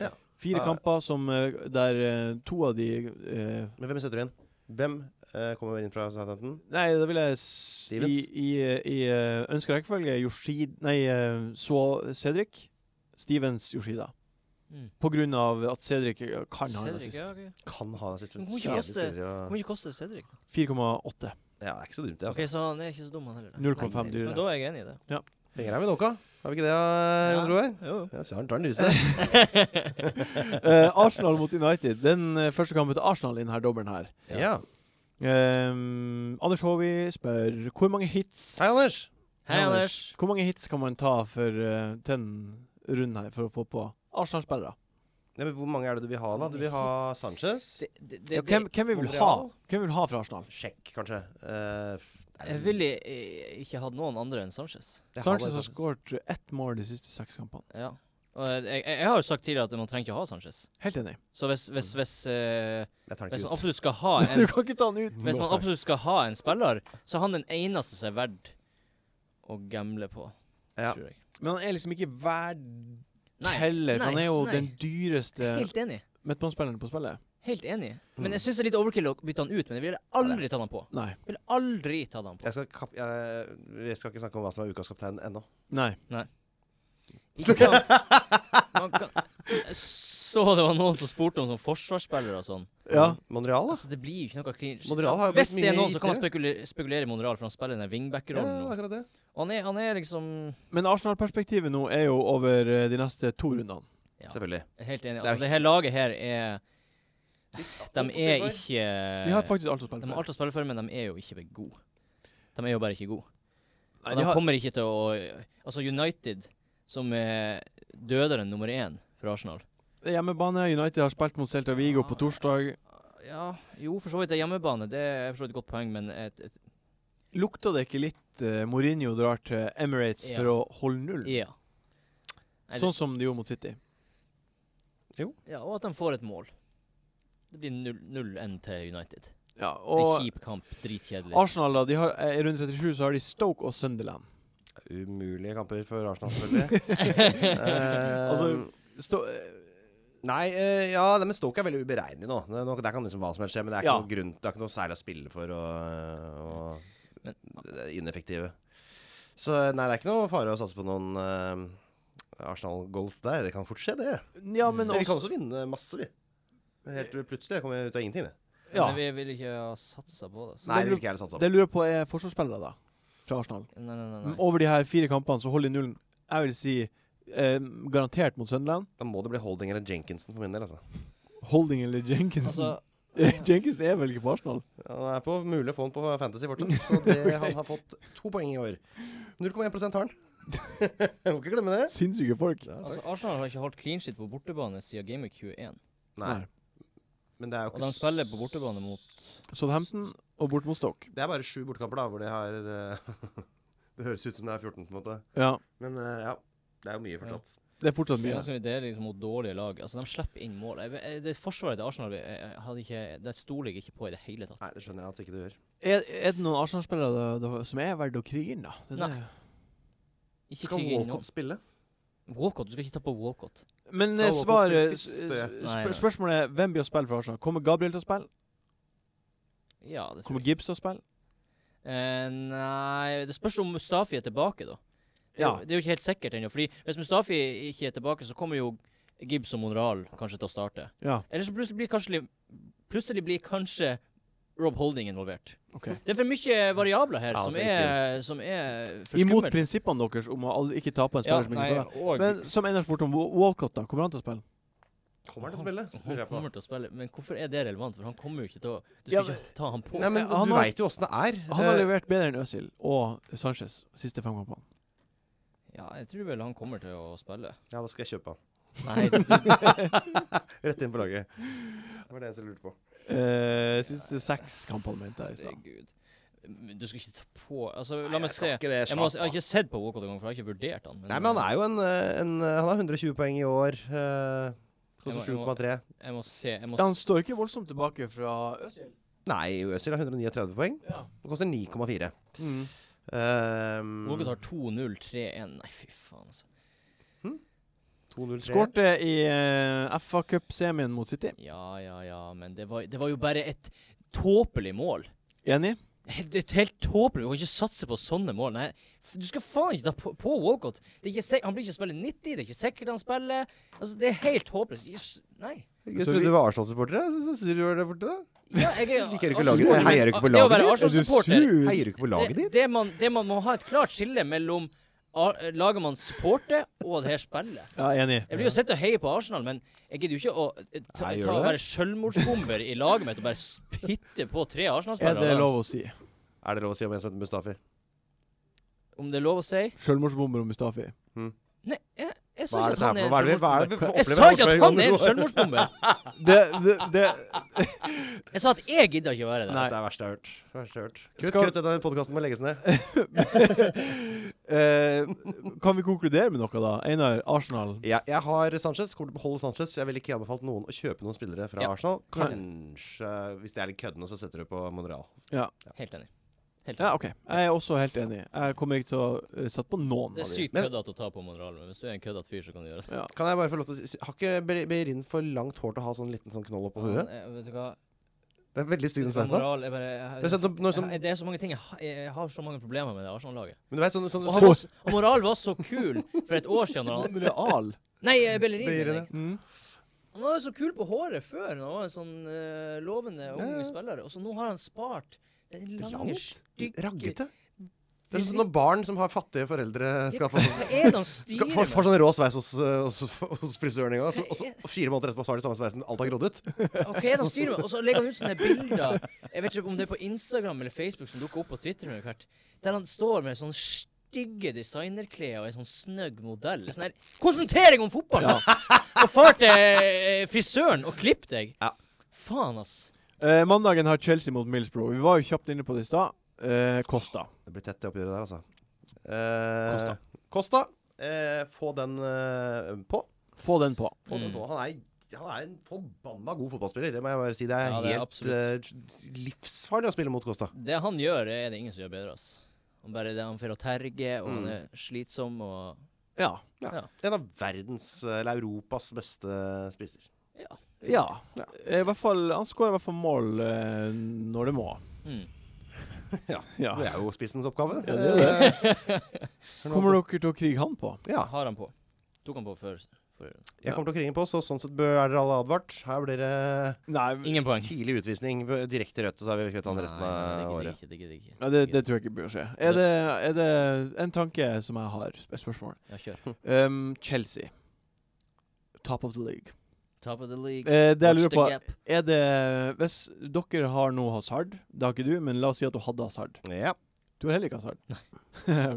Ja. Fire Ja. kamper som, eh, der eh, to av de eh, Men hvem setter du inn? Hvem eh, kommer inn fra Southampton? Nei, da vil jeg s- i, Stevens? i, i eh, ønska rekkefølge Yoshid Nei, eh, så Cedric. Stevens Yoshida. Mm. På grunn av at Cedric eh, kan ha en Cedric, assist. ja, ok. Kan ha den siste Men hvor mye kjedelige koster- spillere Hvor og- mye koster Cedric? da? 4,8. Ja, det er ikke så dumt, det. Ok, Altså. Så han er ikke så dum, han heller. da. 0,5 Nei, Men dyrere. da er jeg enig i det. Penger er vi nok av. Har vi ikke det, Jon Roar? Jo, jo. Ja, så han tar den *laughs* lyse. *laughs* Eh, Arsenal mot United. Den eh, første kampen til Arsenal i denne dobbelen her. Ja. ja. Ehm, Anders Håvi spør hvor mange hits Hei, Anders. Hei, Anders. Hvor mange hits kan man ta for uh, den runden her for å få på Arsenal-spillere? Ja, men hvor mange er det du vil ha, da? Du vil ha Sanchez? Det, det, det, Ja, hvem, hvem, vi vil ha? Montreal? hvem vi vil ha fra Arsenal? Sjekk, kanskje. Eh, nei, Jeg ville eh, ikke hatt noen andre enn Sanchez. jeg har Sanchez bare har skåret ett mål de siste seks kampene. Ja. Og jeg, jeg, jeg har jo sagt tidligere at man trenger ikke å ha Sanchez. Helt enig. Så hvis, hvis, hvis, eh, Jeg tar hvis den man ikke ut. absolutt skal ha *laughs* en Du kan ikke ta han ut. Hvis man Nå, absolutt skal ha en spiller, så er han den eneste som er verdt å gamble på, Ja. tror jeg. Men han er liksom ikke verd Nei, heller. for han er jo nei. den dyreste Helt enig. midtbanespilleren på spillet. Helt enig. eh, Mm. Men jeg syns det er litt overkill å bytte han ut, men jeg ville aldri tatt han på. Nei. Jeg ville aldri tatt han på. Jeg skal, kap jeg, jeg skal ikke snakke om hva som er ukas kaptein ennå. Nei. Ikke kan, *laughs* man kan, jeg så det var noen som spurte om sånn forsvarsspillere og sånn. Ja. Monreal, da. Altså, det blir jo ikke noe clean Monreal har jo Hvis blitt det er mye noen, så kan man giftigere. spekulere, spekulere i Monreal, for han spiller den Ja, wingback-rollen nå. akkurat det. Og han er, han er liksom Men Arsenal-perspektivet nå er jo over eh, de neste to rundene. Ja. Selvfølgelig. Helt enig. Det er Altså, jo det her laget her er De er spille *laughs* for. ikke De har faktisk alt å spille Eh, De har for. alt å spille for, men de er jo ikke gode. De er jo bare ikke gode. Nei, Og de de har, kommer ikke til å Altså, United, som er døderen nummer én for Arsenal det er hjemmebane. United har spilt mot Celta Vigo på torsdag. Ja, jo, for så vidt. Det er hjemmebane. Det er for så vidt et godt poeng, men et, et, Lukta det ikke litt eh, Mourinho drar til Emirates Ja. for å holde null? ja. Nei, det- Sånn som de gjorde mot City. ja. Og at de får et mål. Det blir 0-1 til United. Ja, En og kjip kamp. Dritkjedelig. Arsenal, da. De har, eh, I runde 37 så har de Stoke og Sunderland. Umulige kamper for *laughs* Arsenal, selvfølgelig. Eh, Altså- Sto eh, nei, eh, ja, det med Stoke er veldig uberegnelig nå. Det, nå. der kan liksom hva som helst skje, men det er ikke, Ja. noe, grunn, det er ikke noe særlig å spille for. Og, og Men- det er ineffektive. Så eh, nei, det er ikke noe fare å satse på noen eh, Arsenal-goals der. Det kan fort skje, det. ja, Mm, men Men vi kan også også vinne masse, vi. Helt plutselig kommer vi ut av ingenting. Det. ja. Men vi vil ikke ha satsa på det. Så. Nei, det blir- det vil ikke jeg heller satse på. Det jeg lurer på, er forsvarsspillere, da. Fra Arsenal. Mm, Nei, nei, nei. nei. Over de her fire kampene så holder de nullen. Jeg vil si eh, garantert mot Sunderland. Da må det bli Holding eller Jenkinson for min del. altså. Holding eller Jenkinson? *laughs* Altså, Jenkinson er vel ikke på Arsenal? Han er på mulig å få han på Fantasy fortsatt, så det, han har fått to poeng i år. 0,1 har han. *laughs* Jeg må ikke glemme det. Sinnssyke folk. altså, Arsenal har ikke holdt clean shit på bortebane siden Game Week 21. Nei, men det er Og jo ikke de s- spiller på bortebane mot Southampton og bort mot Stoke. Det er bare sju bortekamper, da, hvor de har Det, *laughs* det høres ut som det er 14, på en måte. Ja, Men eh, ja. Det er jo mye fortsatt. det er fortsatt Det er mye. ganske mye deilig liksom, mot dårlige lag. Altså, De slipper inn mål. Jeg, jeg, det Forsvaret til Arsenal jeg, jeg hadde ikke, det stoler jeg ikke på i det hele tatt. Nei, det skjønner jeg at ikke du gjør. Er, er det noen Arsenal-spillere da- da- som er verdt å krige inn, da? Den Nei. er- Ikke Skal krig inn noen. Walcott spille? Walcott, du skal ikke ta på Walcott. Men Skal eh, Walcott svaret spille spiss, s- spør s- jeg? Nei, spør- nei. Spørsmålet er hvem blir å spille for Arsenal? Kommer Gabriel til å spille? Ja, det tror Kommer jeg. Gibbs til å spille? Eh, nei, det spørs om Mustafi er tilbake, da. Det er, Ja. jo- det er jo ikke helt sikkert ennå. Fordi hvis Mustafi ikke er tilbake, så kommer jo Gibbs og Monreal kanskje til å starte. Ja, Eller så plutselig blir kanskje, plutselig blir kanskje Rob Holding involvert. OK. Det er for mye variabler her Ja, som, som er, som er for Imot skummelt. prinsippene deres om å aldri ikke tape en Ja, spiller som ikke nei, spiller. og Men som Einar spurte om Wa- Walcott, da. Kommer han til å spille? Kommer han til å spille? Så lurer Han jeg på. kommer til å spille, men hvorfor er det relevant? For han kommer jo ikke til å Du Ja, skal ikke ta han på. Nei, men Han Du har- veit jo åssen det er. Han har Eh, levert bedre enn Øzil og Sanchez siste fem kampene. Ja, jeg tror vel han kommer til å spille. Ja, da skal jeg kjøpe han. *laughs* Nei, det tror jeg Rett inn på laget. Det var det jeg lurte på. Eh, siste seks kampene, mente jeg i stad. Herregud. Men Du skal ikke ta på Altså, la meg se. Ikke det, Jeg, må, jeg har ikke sett på Walcott engang, for jeg har ikke vurdert han. Nei, men han er jo en, eh, en eh, Han har 120 poeng i år. eh, Koster Jeg må- jeg må- 7,3. Jeg må se. Jeg må Han s- står ikke voldsomt tilbake fra Øzil. Nei, Øzil har 139 poeng. Ja. Det koster 9,4. Mm. Um, Walcott har 2-0-3-1. Nei, fy faen, altså. 203. Skårte i eh, FA Cup-semien mot City. Ja, ja, ja, men det var, det var jo bare et tåpelig mål. Enig? Helt, et helt tåpelig Du kan ikke satse på sånne mål. Nei, f- du skal faen ikke ta på, på Walcott. Det er ikke, sik- han blir ikke spille 90, det er ikke sikkert han spiller. Altså, Det er helt håpløst. Jøss, Nei. Jeg Så trodde vi- du var Arsenal-supporter. jeg. Så så sur du var der borte. da. Ja, jeg er- *laughs* Liker du ikke altså, laget? supporter- Heier du ikke på Det å laget være ditt? Er du Arsenal-supporter Heier du ikke på laget det, ditt? det, man, det man må ha et klart skille mellom Ar- laget man supporter, og det her spillet. Ja, enig. Jeg blir jo sett og heier på Arsenal, men jeg gidder jo ikke å eh, ta, Nei, gjør ta du det? være selvmordsbomber i laget mitt og bare s- pytte på tre Er Arsenal-spillere. det av lov dem. å si? Er det lov å si om en som heter Mustafi? Om det er lov å si? Selvmordsbomber og Mustafi. Nei, jeg, jeg sa Hva ikke er dette at han her for er en noe? Hva er det vi- hva er det vi selvmordsbomber. opplever Jeg sa ikke her at han oppe i er en Gondor? selvmordsbomber! Det, det, det Jeg sa at jeg gidder ikke å være det. Nei. Det er verst jeg har hørt. Verst jeg har hørt. Kutt, Skal- kutt, denne podkasten må legges ned. eh, Kan vi konkludere med noe, da? Einar, Arsenal. Ja, jeg har Sanchez. Kommer til å beholde Sanchez. Jeg ville ikke anbefalt noen å kjøpe noen spillere fra Ja. Arsenal. Kanskje, hvis de er litt køddende, så setter du på Monreal. Helt enig. Helt Ja, enig. OK. Jeg er også helt enig. Jeg kommer ikke til å eh, sette på noen. Det av er de. sykt Men- køddete å ta på Monreal, men hvis du er en køddete fyr, så kan du gjøre det. Ja. Kan jeg bare få lov til å si Har ikke Be- Behrin for langt hår til å ha sånn liten sånn knoll oppå Han huet? er- Vet du hva? Det er veldig stygg den sveisen hans. Monreal er bare jeg- Det er sånn, når, som, jeg, det er så mange ting jeg, ha- jeg, jeg har så mange problemer med det Arsenal-laget. men du vet, sånn, sånn, Og, sånn, han var s- og Moral var så kul for et år siden. Når han, Real. nei, eh, Bellerin. Bellerin, mener jeg. Mm. Han var jo så kul på håret før. når Han var en sånn eh, lovende ung Ja, ja. spiller. Og så nå har han spart den lange, Langt? stygge Raggete? Det er sånn som når barn som har fattige foreldre, skal *laughs* få Hva er det han skal, styrer får, får med? sånn rå sveis hos, eh, hos, hos frisøren. Og så, og så og fire måneder etterpå så har de samme sveisen. Alt har grodd ut. Og hva *laughs* er det han styrer med? Og så legger han ut sånne bilder Jeg vet ikke om det er på Instagram eller Facebook som dukker opp på Twitter, med hvert, der han står med sånn stygge designerklær og en sånn snøgg modell. Sånn her, konsentrering om fotball! da! Og far til eh, frisøren og klipp deg! Ja. Faen, ass. Eh, mandagen har Chelsea mot Millsbro. Vi var jo kjapt inne på det i stad. Eh, Costa. Det blir tett det oppgjøret der, altså. Eh, Kosta. Kosta. Eh, få den eh, på. Få den på. Få den Mm. på. Han er, han er en forbanna god fotballspiller, det må jeg bare si. Det er Ja, det er helt eh, livsfarlig å spille mot Kosta. Det han gjør, er det ingen som gjør bedre, ass. Han bare det han får å terge, og Mm. han er slitsom, og Ja. Ja. Ja. En av verdens, eh, eller Europas beste spisser. ja. Ja. Ja. Eh, I hvert fall, han skårer i hvert fall mål eh, når det må. Mm. ja. *laughs* Ja. Så det er jo spissens oppgave. Eh, Ja, det er det. *laughs* Kommer dere til å krige han på? Ja. Har han på. Tok han på før. før. Jeg kommer til å kringe på, så sånn sett bør er dere alle advart. Her blir det Nei, Ingen poeng. tidlig utvisning. Direkte rødt, og så er vi kvitt Mm. han resten av Nei, nei, året. det gidder jeg ikke. ja, det, det tror jeg ikke bør skje. Er det, er det en tanke som jeg har? sp- Spørsmål. Ja, kjør. Um, Chelsea. Top of the league. Top of the league. Eh, det jeg Watch lurer the på, gap. er det Hvis dere har nå Hazard, det har ikke du, men la oss si at du hadde Hazard. Ja. Du har heller ikke Hazard. *laughs*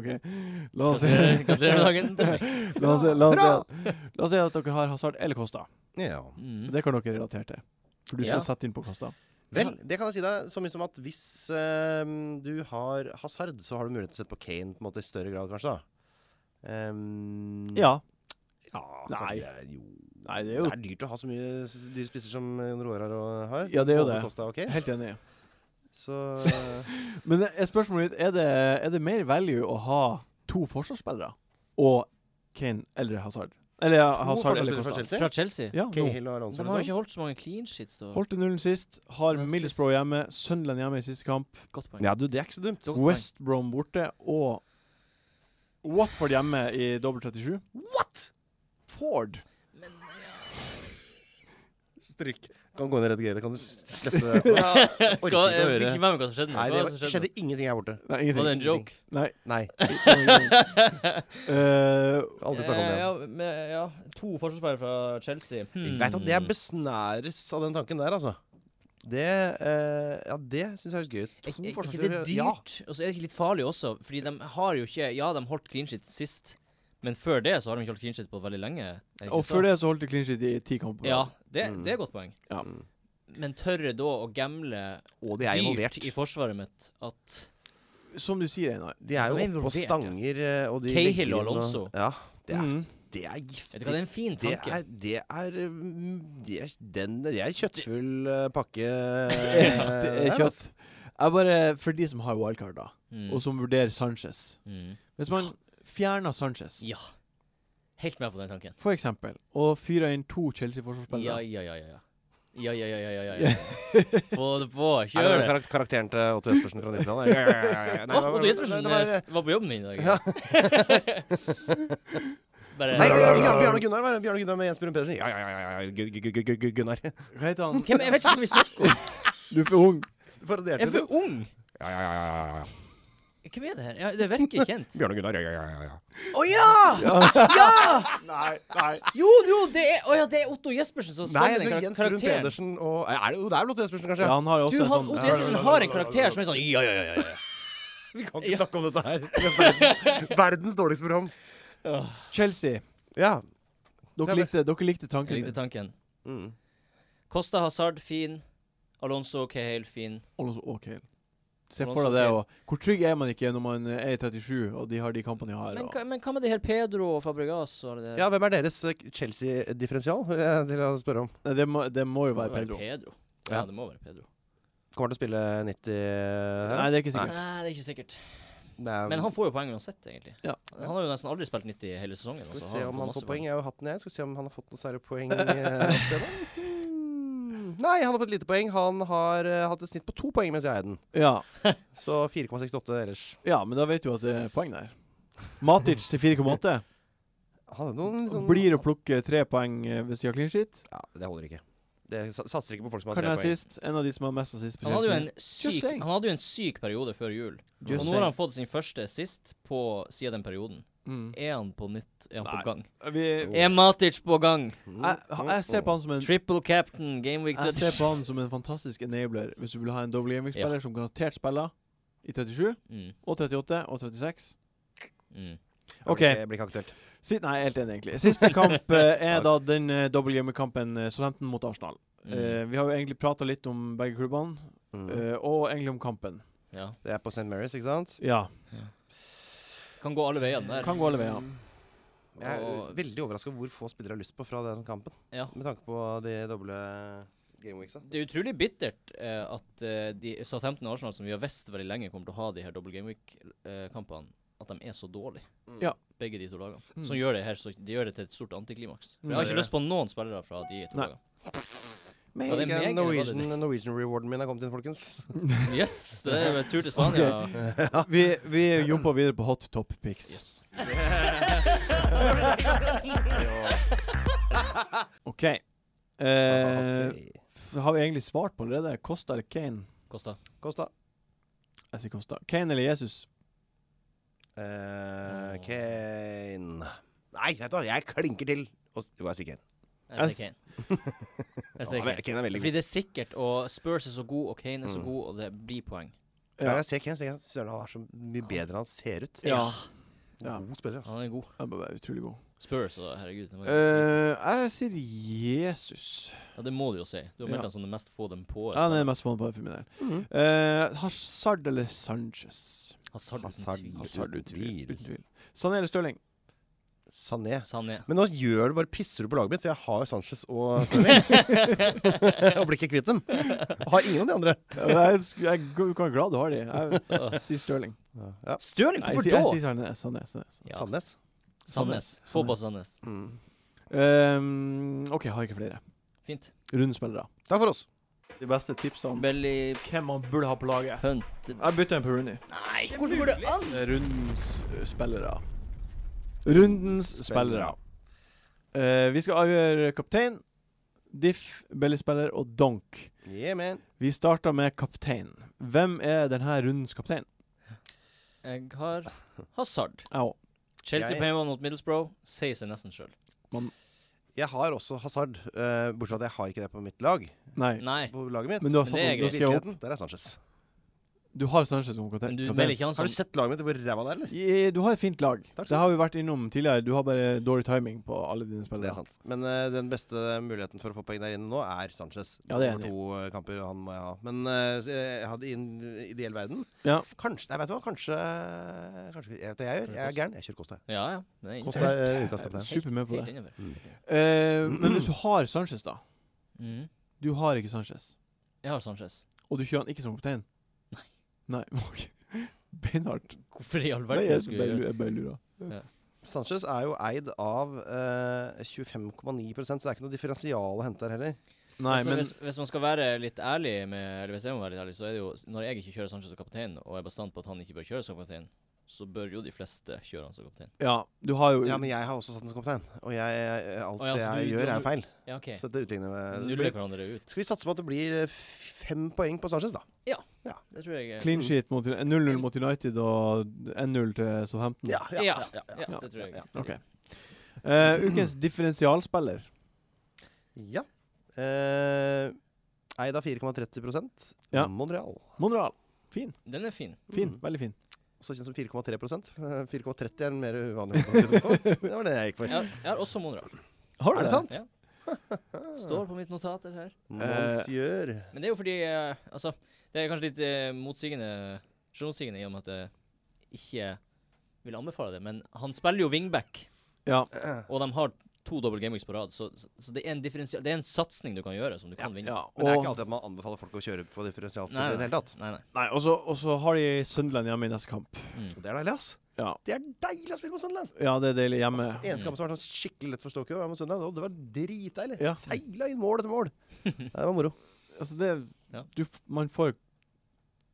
ok. La oss Gratulerer gratulerer med *laughs* dagen til meg. *laughs* La oss, la, oss, la oss si at dere har Hazard eller Costa. ja. Mm. Det kan dere relatere til. For du Ja. skal sette inn på Costa. Vel, det kan jeg si deg så mye som at hvis ehm, du har hasard, så har du mulighet til å sette på Kane på en måte i større grad, kanskje. da. Mm. Ehm, Ja. ja Nei. kanskje Det er, jo. Nei, det det er jo er dyrt å ha så mye s- dyre spisser som Aurora har. Ja, det er jo Både det. Costa og Kane. helt enig. Så *laughs* Men eh, spørsmålet mitt er det, er det mer value å ha to forsvarsspillere og Kane eller Hazard? Eller ja, to Hazard eller Costa. forsvarsspillere fra Chelsea. Fra Chelsea? Ja, nå. Cahill og Alonso. De har jo liksom. ikke holdt så mange clean sheets. Da. Holdt til nullen sist. Har Ja, Middlesbrough sist. hjemme, Sunderland hjemme i siste kamp, Godt poeng. Ja, du, det er ikke så dumt. Godt poeng. West Brom borte og Watford hjemme i dobbelt 37. What?! Ford! Men Stryk. Kan gå inn og redigere. Kan du s- *laughs* slette det? Ja. Orker hva, jeg fikk ikke å ikke høre. med meg hva som skjedde. nå. Nei, Hva det var var, som skjedde? skjedde ingenting her borte. Nei, Var det ingenting. en joke? Nei. Nei. Eh, Aldri snakk om det Eh, igjen. ja, med, ja, to forsvarsspillere fra Chelsea. Hmm. Jeg vet at jeg besnæres av den tanken der, altså. Det eh, Ja, det syns jeg høres gøy ut. Er Eh, ikke- To er ikke det forsvarsspillere- dyrt? Og så er det ikke litt farlig også, fordi de har jo ikke Ja, de holdt clean sheet sist, men før det så har de ikke holdt clean sheet på veldig lenge. er det ikke og så? før det så holdt de clean sheet i ti kamper. Ja, det, Mm. det er et godt poeng. Ja. Men tørre da å gamble Ja, og de er dyrt involvert. i forsvaret mitt at Som du sier, Einar. De er De er jo oppe og involvert, ja. stanger eh, og de Cahill legger og inn Alonso. Ja, det er, Mm. det er Vet giftig. du hva, det er en fin Det tanke. er, det er mm, det er, den, det er kjøttfull *laughs* eh, *laughs* pakke. eh, Det er der, kjøtt. Jeg bare, for de som har wildcard, da, Mm. og som vurderer Sanchez Mm. Hvis man fjerner Sanchez, Ja. Helt med på den tanken. for eksempel, og fyrer inn to Ja, Chelsea-forsvarsspillere ja, ja, ja. ja. Ja, ja, ja, ja, ja, *laughs* ja, ja. Få det på, Er det kjør den det. karak karakteren til Otto Jespersen fra 90-tallet? Ja, ja, ja, ja. Nei, Å, det var- Otto Jespersen det var- eh, var på jobben min i dag. *laughs* Bare Nei, Bjarne *laughs* Bjarne og Gunnar var det. Bjarne og Gunnar med Jens Brun Pedersen. Ja, ja, ja, ja, ja. Gu- gu- gu- gu- gu- Gunnar. *laughs* Hva heter han? *laughs* Hvem, jeg vet ikke hvem vi snakker om. Du er for ung. Jeg Parodierte er det. for ung. Ja, ja, ja, ja, ja, ja. Hvem er det her? Ja, det virker kjent. Bjarne og Gunnar, ja, ja, ja, ja, ja. Å ja! Nei, nei. *laughs* Jo, jo, det er, å ja, det er Otto Jespersen som Nei, spiller den jeg tror kar- Jens Brun karakteren. Pedersen og Nei, er det, jo, det er vel Otto Jespersen, kanskje? Ja, han har jo Du, også han, en Otto sånn Jespersen har en karakter som er sånn ja, ja, ja. ja, *laughs* ja. Vi kan ikke snakke om dette her. Det er *laughs* verdens, verdens dårligste program. Chelsea. Ja. Dere likte, dere likte tanken. Jeg likte min. tanken. Mm. Costa Hazard, fin. Alonso Cahill, fin. Alonso og Kane. Se Alonso for deg det. Kane. Og hvor trygg er man ikke når man er i 37 og de har de kampene de har? Men, og- hva- men hva med det her Pedro og Fabregas og det der? ja, hvem er deres eh, Chelsea-differensial? vil jeg- Til å spørre om. Nei, det, må, det må jo Det må være være Pedro. Pedro. Ja. Ja, det må være Pedro. Kommer til å spille 90 her? Nei, det er ikke sikkert. Nei, det er ikke sikkert. Det er- Men han får jo poeng uansett, egentlig. Ja. Han har jo nesten aldri spilt 90 hele sesongen. Skal vi altså. se om han masse får poeng. Jeg har jo hatt den, jeg. Skal vi se om han har fått noe særlig poeng. eh, opp igjennom. *laughs* Hmm. Nei, han har fått lite poeng. Han har eh, hatt et snitt på to poeng mens jeg eide den. Ja. Så 4,68 ellers. ja, men da vet du at det er poeng der. Matic til 4,8. *laughs* Han hadde noen litt sånn- Blir å plukke tre poeng eh, hvis de har clean sheet. Ja, det holder ikke. Det sa- satser ikke på folk som har Kan tre jeg poeng. sist? En av de som har mest assist. på Han hadde, jo en Chelsea. syk, saying. han hadde jo en syk periode før jul. Just og nå har saying. han fått sin første sist på siden den perioden. Mm. Er han på nytt? Er han Nei. på gang? Vi, jeg, Er Matic på gang? Mm, jeg, jeg ser på han som en Triple captain, game week Jeg *laughs* ser 37. på han som en fantastisk enabler hvis du vil ha en double gaming-spiller som garantert spiller i 37 Mm, og 38 og 36. mm. Det OK. blir, ikke- blir ikke aktuelt. Si, nei, jeg er helt enig, egentlig. Siste kamp *laughs* eh, er da den uh, double game-kampen uh, Southampton mot Arsenal. Mm. Eh, vi har jo egentlig prata litt om begge klubbene, Mm. eh, og egentlig om kampen. ja. Det er på St. Mary's, ikke sant? Ja. Kan gå alle veiene der. Kan gå alle veier. Jeg er Og- veldig overraska hvor få spillere har lyst på fra den kampen, Ja. med tanke på de doble gameweeksa. Det er utrolig bittert eh, at eh, de Southampton og Arsenal, som vi har visst veldig lenge kommer til å ha de her double game week-kampene, at de er så dårlige. Mm. Ja. Begge de to lagene. Mm. Som gjør det her, så de gjør det til et stort antiklimaks. For Mm. Jeg har Det ikke gjør lyst på noen spillere fra de to Nei. lagene. Men, Ja, det er meg, Ikke eller Norwegian, hva Norwegian rewarden min er kommet inn, folkens. Yes! Det er vel tur til Spania. vi vi jobber videre på hot top pics. Yes. OK. Eh, f- har vi egentlig svart på allerede? Costa eller Kane? Kosta. Kosta. Jeg sier Costa. Kane eller Jesus? Eh, Kane Nei, vet du hva, jeg klinker til! Og s- jo, jeg sier Kane. Jeg Jeg *laughs* sier Kane. Jeg Ja, sier men Kane. Kane er veldig Fordi god. det er sikkert, og Spurs er så god, og Kane er så Mm. god, og det blir poeng. Ja. Jeg ser Kane, så tenker jeg søren, han er så mye bedre enn han ser ut. Ja. Ja. God spiller, altså. Han er god. Han er utrolig god. Spurs, og herregud. det må du- Eh, jeg sier Jesus. ja, det må du jo si. Du har ja. meldt han som det mest få dem på. Ja, han er den mest vanlige for min del. Mhm. Eh, Hazard eller Sanchez? Hazard, Hazard. uten tvil. Hazard, uten tvil. Tvil. Uten tvil. Sané eller Stirling? Sané. Sané. Men nå gjør du bare pisser du på laget mitt, for jeg har jo Sanchez og Stirling. *laughs* og blir ikke kvitt dem. Har ingen av de andre. jeg, sku- jeg, g- du kan være glad du har de. Jeg sier Stirling. Ja. Stirling, Nei, Jeg sier, jeg sier Sané. Sané, Sané, Sané. Ja. Sandnes. Sandnes. Få på Sandnes. Mm. Ehm, OK, jeg har ikke flere. Fint. Rundespillere. Takk for oss. De beste tipsene Belly hvem man burde ha på laget. Hunt Jeg bytter en på Rooney. Nei, hvordan går det an? Rundens eh, spillere. Rundens spillere. Eh, vi skal avgjøre kaptein, diff, bellyspiller og donk. Yeah, man. Vi starter med kaptein. Hvem er denne rundens kaptein? Jeg har Hazard. Jeg òg. Chelsea Jeg- på hjemmebane mot Middlesbrough sier seg nesten sjøl. Jeg har også Hazard, eh, bortsett fra at jeg har ikke det på mitt lag. Nei. Nei, På laget mitt. Men du har Men satt det er opp, du greit. har skrevet opp. Virkeligheten, der er Sanchez. Du har Sanchez som kapte- men du kaptein. melder ikke han som Har du sett laget mitt hvor ræva det er, eller? I- Du har et fint lag. Takk skal Det har vi vært innom tidligere. Du har bare dårlig timing på alle dine Det er spillere. sant. Men eh, den beste muligheten for å få poeng der inne nå er Sanchez. Ja, det er Over enig. to eh, kamper han må jeg ha. Men eh, jeg hadde i en ideell verden Ja. Kanskje Nei, vet du hva, kanskje, kanskje Jeg vet hva jeg gjør. Jeg er gæren. Jeg kjører Kosta. Ja, ja. Det er Kosta er eh, ukas Jeg er kaptein. super med på helt det. innenfor. Eh, men *clears throat* hvis du har Sanchez, da. Mhm. Du har ikke Sanchez. Jeg har Sanchez. Og du kjører han ikke som kaptein? Nei. Nei, *laughs* ok. Beinhardt. Hvorfor i all Nei, verden jeg skulle jeg bare gjøre det? lu- jeg bare lurer. Altså, Sanchez er jo eid av eh, 25,9 så det er ikke noe differensial å hente der heller. Nei, altså, men hvis, hvis man skal være litt ærlig med Eller hvis jeg må være litt ærlig, så er det jo Når jeg ikke kjører Sanchez som kaptein, og er bastant på at han ikke bør kjøre som kaptein, så bør jo de fleste kjøre han som kaptein. Ja, du har jo Ja, men jeg har også satt den som kaptein, og jeg, eh, alt Å, ja, så jeg du- gjør, du- er feil. Ja, OK. Så dette eh, utligner med- det Nuller blir- hverandre ut. Skal vi satse på at det blir eh, fem poeng på Sanchez, da? Det tror jeg er Clean sheet mot 0-0 mot United og 1-0 til Southampton. Ja, ja, det tror jeg. ja, Ok. Eh, ukens differensialspiller. Ja. Eh, Eid av 4,30 Ja. Montreal. Monreal. Fin. Den er fin. Fin. Mm. Veldig fin. Også kjent som 4,3 *laughs* Eh, 4,30 er en mer uvanlig måte å si det på. Det var det jeg Jeg gikk for. har, jeg har også Monreal. Har Er det sant? Ja. Ah. Står på mitt notater her. Monsieur. Men det er jo fordi eh, Altså, det er kanskje litt eh, motsigende selvmotsigende i og med at jeg ikke vil anbefale det, men han spiller jo wingback, Ja. og de har to double gameweeks på rad, så, så det er en differensial... Det er en satsing du kan gjøre, som du kan vinne. ja. Men det er ikke Og, alltid at man anbefaler folk å kjøre på Nei, differensialsport i det nei. hele tatt. Nei, nei. nei, og så- og så har de Sunderland hjemme i neste kamp. Og det er deilig, ass. Ja, Det er deilig å spille mot Sunderland. ja det er deilig hjemme. Eneste kamp som var sånn skikkelig lett for Stokke, var mot Sunderland. Og det var dritdeilig. Ja. Seila inn mål etter mål. Ja, det var moro. Altså, det Ja. du, f- Man får i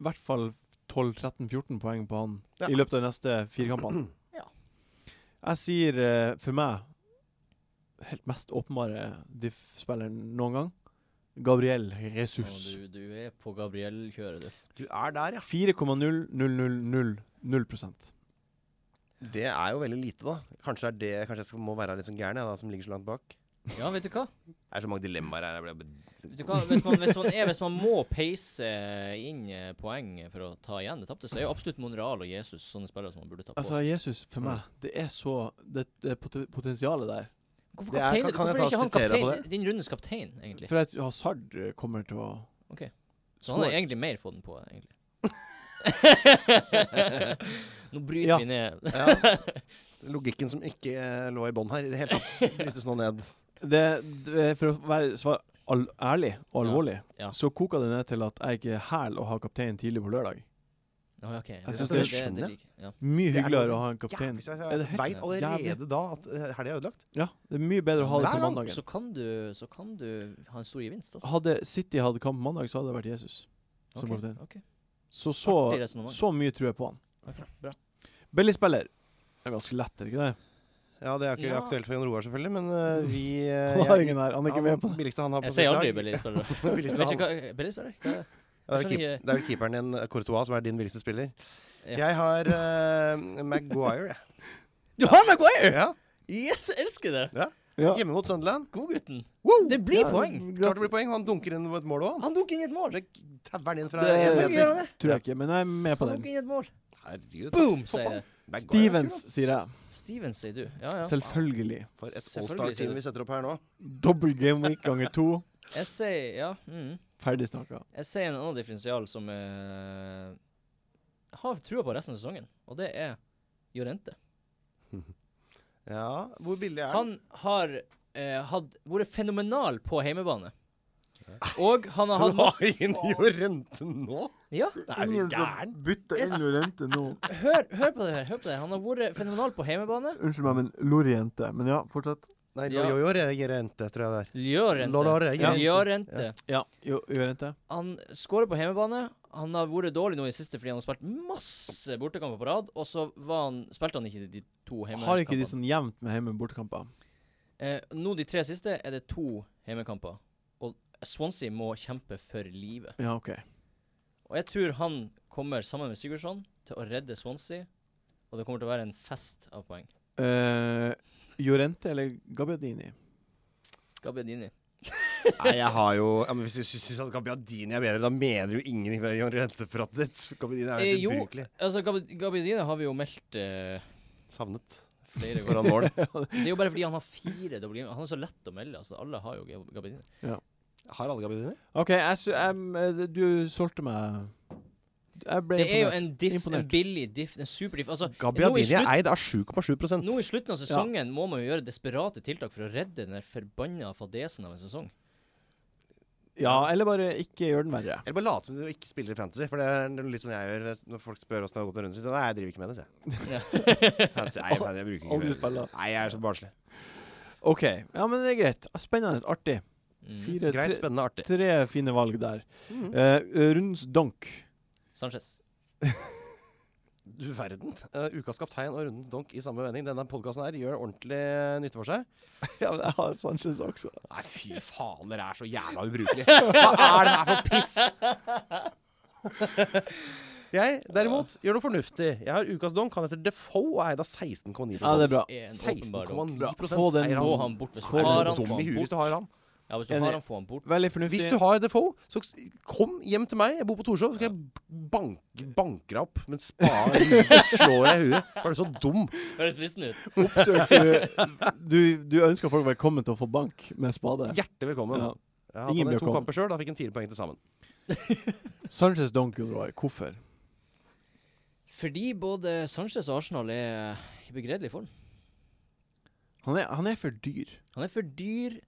hvert fall 12-13-14 poeng på han Ja. i løpet av de neste fire kampene. Ja. Jeg sier eh, for meg helt mest åpenbare diff-spilleren noen gang. Gabriel Jesus. Og Du, du er på Gabriel-kjøret, du. Du er der, ja. 4,00000 Det er jo veldig lite, da. Kanskje er det Kanskje jeg skal, må være litt sånn gæren, jeg, da, som ligger så langt bak. Ja, vet du hva? Det er så mange dilemmaer her. Jeg ble... Vet du hva? Hvis, man, hvis, man er, hvis man må peise inn eh, poeng for å ta igjen det tapte, så er jo absolutt Monreal og Jesus sånne spillere som man burde ta på. Altså, Jesus, for meg, det er så Det, det er pote- potensialet der. hvorfor det er- kaptein, kan- kan hvorfor jeg ta er ikke han og sitere på kaptein, det? din rundes kaptein, egentlig? For at Hazard eh, kommer til å Ok. Så han score. har egentlig mer fått den på, *laughs* egentlig. Nå bryter Ja. vi ned. Ja. Logikken som ikke eh, lå i bånn her i det hele tatt, brytes nå ned. det, det, For å være svar all, ærlig og Ja. alvorlig, Ja. så koker det ned til at jeg ikke hæler å ha kaptein tidlig på lørdag. Nå, ok. Jeg synes det er skjønner. liker- ja. Mye Det er hyggeligere noe- å ha en kaptein. Jeg, Er jeg det helt veit allerede jævlig? da at eh, helga er ødelagt. Ja, det er mye bedre å ha det Hver på gang, mandagen. Så kan du, så kan du ha en stor gevinst, altså. Hadde City hatt kamp mandag, så hadde det vært Jesus som Ok, kaptein. ok. Så så, Artig resonnement. så mye tror jeg på han. Ok, bra. Billigspiller. Det er ganske lett, er det ikke det? Ja, det er ikke Ja. aktuelt for Jan Roar, selvfølgelig, men eh, vi eh, Han har jeg- ingen her, han er ikke Ja, med på det. Billigste han har på Jeg sier sitt aldri *laughs* lag. billigspillere. Billigste Vet han- ikke hva- Billigspillere? Hva er det? Det er vel Jeg skjønner keep- det er vel keeperen din, eh, Courtois, som er din billigste spiller. Ja. Jeg har eh, Maguire, jeg. Du har Maguire! Ja. Yes, jeg elsker det! Ja. Hjemme mot Sunderland. Godgutten. Woo! Det blir Ja, poeng. Klart det blir poeng. Han dunker inn et mål òg, han. Han dunker inn et mål. Det tauer han inn fra Det- en Selvfølgelig gjør meter. han det. Tror jeg ikke, men jeg er med på Han den. dunker inn et mål. Herregud. Boom, Fotball. sier jeg. Maguire er kul, Stevens, sier jeg. Stevens, sier du. Ja, ja. Selvfølgelig. da. For et Selvfølgelig sier allstar-team du. vi setter opp her nå. Dobbel game week ganger to. Jeg sier ja. Mm. Ferdig snakka. Jeg sier en annen differensial som eh, jeg har trua på resten av sesongen, og det er Jorente. Ja, hvor billig er han? Han har eh, hatt, vært fenomenal på heimebane. Og han har Skal hatt du ha masse inn Jorente nå? Ja, Det er jo gæren. bytter inn Lorente nå. hør, hør på det her. hør på det her. Han har vært fenomenal på heimebane. Unnskyld meg, men Loriente. Men ja, fortsett. Nei, Ja. Jorente, tror jeg det er. Llorente. Lolore, Ja. Llorente. Ja, jo, Lorente. Han skårer på hjemmebane. Han har vært dårlig nå i det siste fordi han har spilt masse bortekamper på rad, og så var han, spilte han ikke de to hjemmekampene. Har ikke de sånn jevnt med hjemme- og bortekamper? Eh, nå de tre siste er det to hjemmekamper. Og Swansea må kjempe for livet. Ja, OK. Og jeg tror han kommer sammen med Sigurdsson til å redde Swansea. Og det kommer til å være en fest av poeng. Eh, Jorente eller Gabbiadini? Gabbiadini. Nei, jeg har jo ja, men Hvis du sy- syns at Gabbiadini er bedre, da mener du ingen i Jorente-pratet ditt. Gabbiadini er Eh, helt jo. ubrukelig. Altså, Gabbi- Gabbiadini har vi jo meldt eh, Savnet flere ganger. foran mål. Det er jo bare fordi han har fire dobbeltganger. Han er så lett å melde. altså. Alle har jo Gab- Gabbiadini. Har alle Gabbiadini? OK, jeg, sy- em, eh, du solgte meg Jeg ble Det er jo imponert. en diff, en Imponert. billig diff, en superdiff. Altså, nå i Gabbiadini er slutt- eid av 7,7 Nå i slutten av sesongen må man jo gjøre desperate tiltak for å redde den der forbanna fadesen av en sesong. Ja, eller bare ikke gjør den verre. Eller bare late som du ikke spiller i Fantasy. For det er noe litt sånn jeg gjør eh, når folk spør åssen det har gått en runde. Så sier jeg, Nei, jeg driver ikke med det, sier jeg. *laughs* Fantasy, nei, nei, jeg bruker Om du ikke det. spiller. Nei, jeg er så barnslig. OK. Ja, men det er greit. Spennende. Artig. Mm. Fire, Greit, tre, spennende, artig. Tre fine valg der. Mhm. Eh, rundens donk. Sanchez. Du verden. Eh, ukas kaptein og rundens donk i samme vending. Denne podkasten her gjør ordentlig eh, nytte for seg. *laughs* ja, men jeg har Sanchez også. Nei, fy faen, dere er så jævla ubrukelige. Hva er det her for piss? Jeg derimot gjør noe fornuftig. Jeg har ukas donk. Han heter Defoe og er eid av 16,9 Ja, det er bra. Er en åpenbar dom. 16,9 Få den eier Få han. han bort hvis du Få den har Er han, du få dum i han huet hvis du bort. har han? Ja, hvis du Enig. har han, få han bort. Veldig fornuftig. Hvis du har Defoe, så s- kom hjem til meg. Jeg bor på Torshov, så skal jeg banke, banke deg opp. Men spa slår deg i huet. Er du så dum? Høres fristende ut. *laughs* oppsøkt du, du ønsker folk velkommen til å få bank med spade. Hjertelig velkommen. Ja. Jeg hadde Ingen han i blir to kommet. kamper sjøl, da fikk han fire poeng til sammen. Sanchez donk, Ulroy. Hvorfor? Fordi både Sanchez og Arsenal er i begredelig form. Han er, han er for dyr. Han er for dyr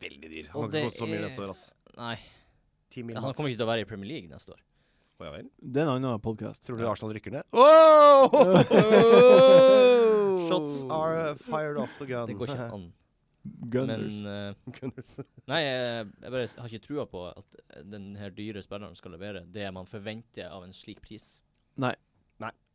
Veldig dyr. Og Han kan det ikke koste så mye er- neste år, ass. Nei, 10 mil han maks. kommer ikke til å være i Premier League neste år. Å, ja vel. Det er en annen podkast. Tror du Arsenal rykker ned? Åh! *laughs* *laughs* Oh! Shots are fired off the gun. Det går ikke an. Gunners. Men eh, Gunners. Nei, jeg, jeg bare har ikke trua på at den her dyre spilleren skal levere det man forventer av en slik pris. *laughs*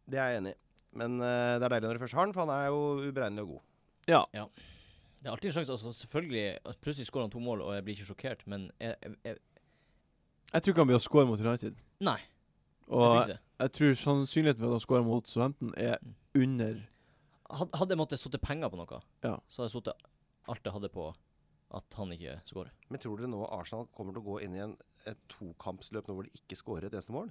Det er jeg enig i. Men eh, det er deilig når du først har den, for han er jo uberegnelig og god. Det er alltid en sjanse. altså selvfølgelig, at Plutselig skårer han to mål, og jeg blir ikke sjokkert, men jeg, jeg, jeg, jeg tror ikke han blir å score mot United. Nei, jeg Og tror jeg, ikke det. Mm. tror sannsynligheten for at han scorer mot studenten, er under Had, hadde jeg måttet sittet penger på noe, Ja. så hadde jeg sittet alt jeg hadde på at han ikke scorer. Men tror dere nå Arsenal kommer til å gå inn i en, et tokampsløp nå hvor de ikke scorer et eneste mål?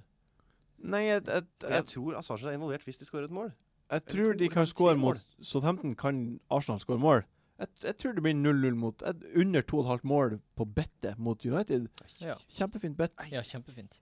Nei, jeg, jeg, Og jeg, jeg tror Assange er involvert hvis de scorer et mål. jeg tror tror de det kan blir score tre mot mål. Southampton. Kan Arsenal score mål? Jeg, jeg tror det blir 0-0 mot et, under 2,5 mål på bettet mot United. Ja. Kjempefint bett. ja, kjempefint.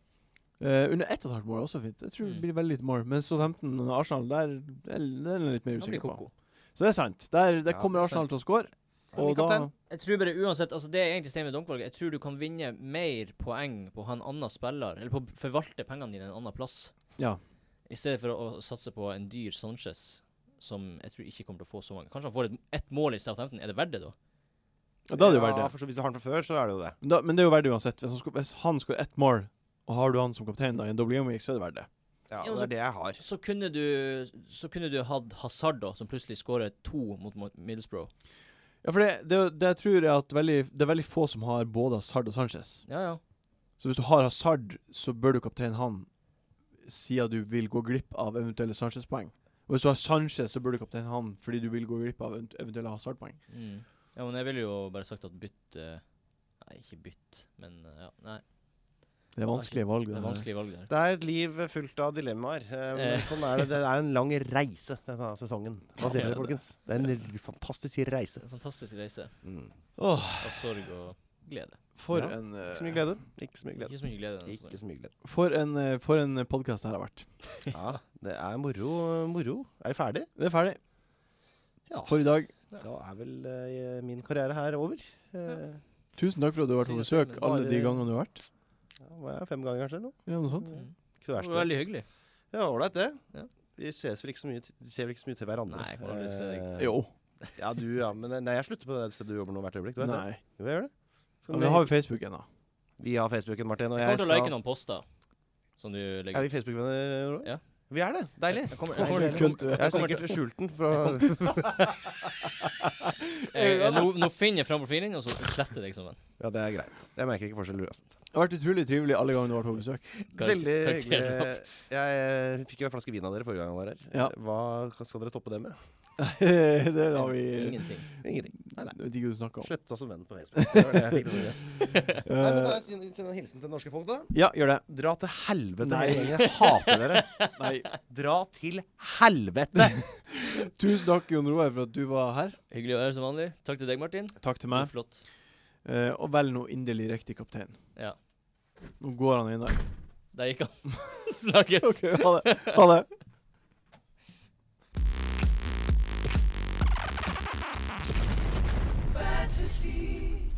Eh, under 1,5 mål er også fint. Jeg tror det Mm. blir veldig lite mål. Men Southampton og Arsenal, der det er det er jeg litt mer Han blir usikker på. koko. Så det er sant. Der, der Ja, kommer det er Arsenal til å score. Og da Kaptein. Jeg tror bare uansett, altså Det jeg egentlig sier med domvalget, jeg tror du kan vinne mer poeng på å ha en annen spiller, eller på å forvalte pengene dine en annen plass, Ja. i stedet for å, å satse på en dyr Sanchez, som jeg tror ikke kommer til å få så mange. Kanskje han får et, ett mål i Southampton. Er det verdt det, da? Ja, da er det jo verdt Ja, det. for så, hvis du har den fra før, så er det jo det. Men, da, men det er jo verdt det uansett. Hvis han, sko- hvis han skårer ett mål, og har du han som kaptein da, i en double game week, så er det verdt det. Ja, Ja, og det så- er det jeg har. Så kunne du Så kunne du hatt Hazard, da, som plutselig skårer to mot Mo- Middlesbrough. Ja, for det, det, er jo- det jeg tror er at veldig, det er veldig få som har både Hazard og Sanchez. Ja, ja. Så hvis du har Hazard, så bør du kapteine han, siden du vil gå glipp av eventuelle Sanchez-poeng. Og hvis du har Sanchez, så bør du kapteine han fordi du vil gå glipp av event- eventuelle Hazard-poeng. Mm. Ja, men jeg ville jo bare sagt at bytt eh, Nei, ikke bytt, men eh, ja, nei. Det er vanskelige valg. Det det er der. vanskelig valg der. Det er et liv fullt av dilemmaer. eh, men Eh. Sånn er det. Det er en lang reise denne sesongen. Hva sier dere, folkens? Det er en fantastisk reise. Det er en fantastisk reise Mm. Åh, av sorg og glede. for, Ja. en, eh, Ikke så mye glede. Ikke så mye glede. Ikke så mye glede. denne Ikke sesongen. så mye glede. for en, eh, for en podkast det her har vært. Ja, det er moro. moro. Er vi ferdig? Det er ferdig Ja. for i dag. Da er vel eh, min karriere her over. Eh, Tusen takk for at du har vært på Sier at besøk det alle bare- de gangene du har vært. ja, hva er det, fem ganger, kanskje? eller noe? Ja, noe sånt. Mm. Ikke så Det verst. var det. veldig hyggelig. Ja, ålreit, det. Ja. Vi ses vel ikke så mye, til- ser vel ikke så mye til hverandre. Nei, jeg kommer aldri til å se deg. Eh, Jo. Ja, du, ja, men eh, nei, jeg slutter på det stedet du jobber nå hvert øyeblikk. Du vet det? Nei. Jo, jeg gjør det. Ja, vi har jo Facebook ennå. vi har Facebooken, Martin. Og Jeg jeg kommer til å like skal noen poster som du Er legger vi Facebook-venner, Roar? Ja. Vi er det. Deilig. Jeg kommer, Å, jeg kommer, for jeg kommer, kønt du er. Jeg har kommer sikkert skjult den. Fra, jeg, jeg, nå, nå finner jeg fram profilen, og så sletter jeg deg som venn. *laughs* ja, det er greit. Jeg merker ikke forskjell. du, Altså. Det har vært utrolig trivelig alle gangene du har vært på besøk. Karakter- Veldig hyggelig. karakterdrap. Jeg eh, fikk jo en flaske vin av dere forrige gang jeg var her. Ja. Hva skal dere toppe det med? det har vi Ingenting. Ingenting. Nei, nei. Jeg vet ikke hva du snakker om. Sletta som venn på Facebook. Det var det jeg fikk til ordet. Nei, men da Eh, Send send en hilsen til det norske folk, da. ja, gjør det. Dra til helvete, Nei. hele gjengen. Jeg hater dere. *laughs* Nei. Dra til helvete! Tusen takk, Jon Roar, for at du var her. Hyggelig å være her som vanlig. Takk til deg, Martin. Takk til Du meg. er flott. Eh, og vel nå inderlig riktig kaptein. Ja. Nå går han inn der. Der gikk han. *laughs* Snakkes. OK, ha det. Ha det. fantasy.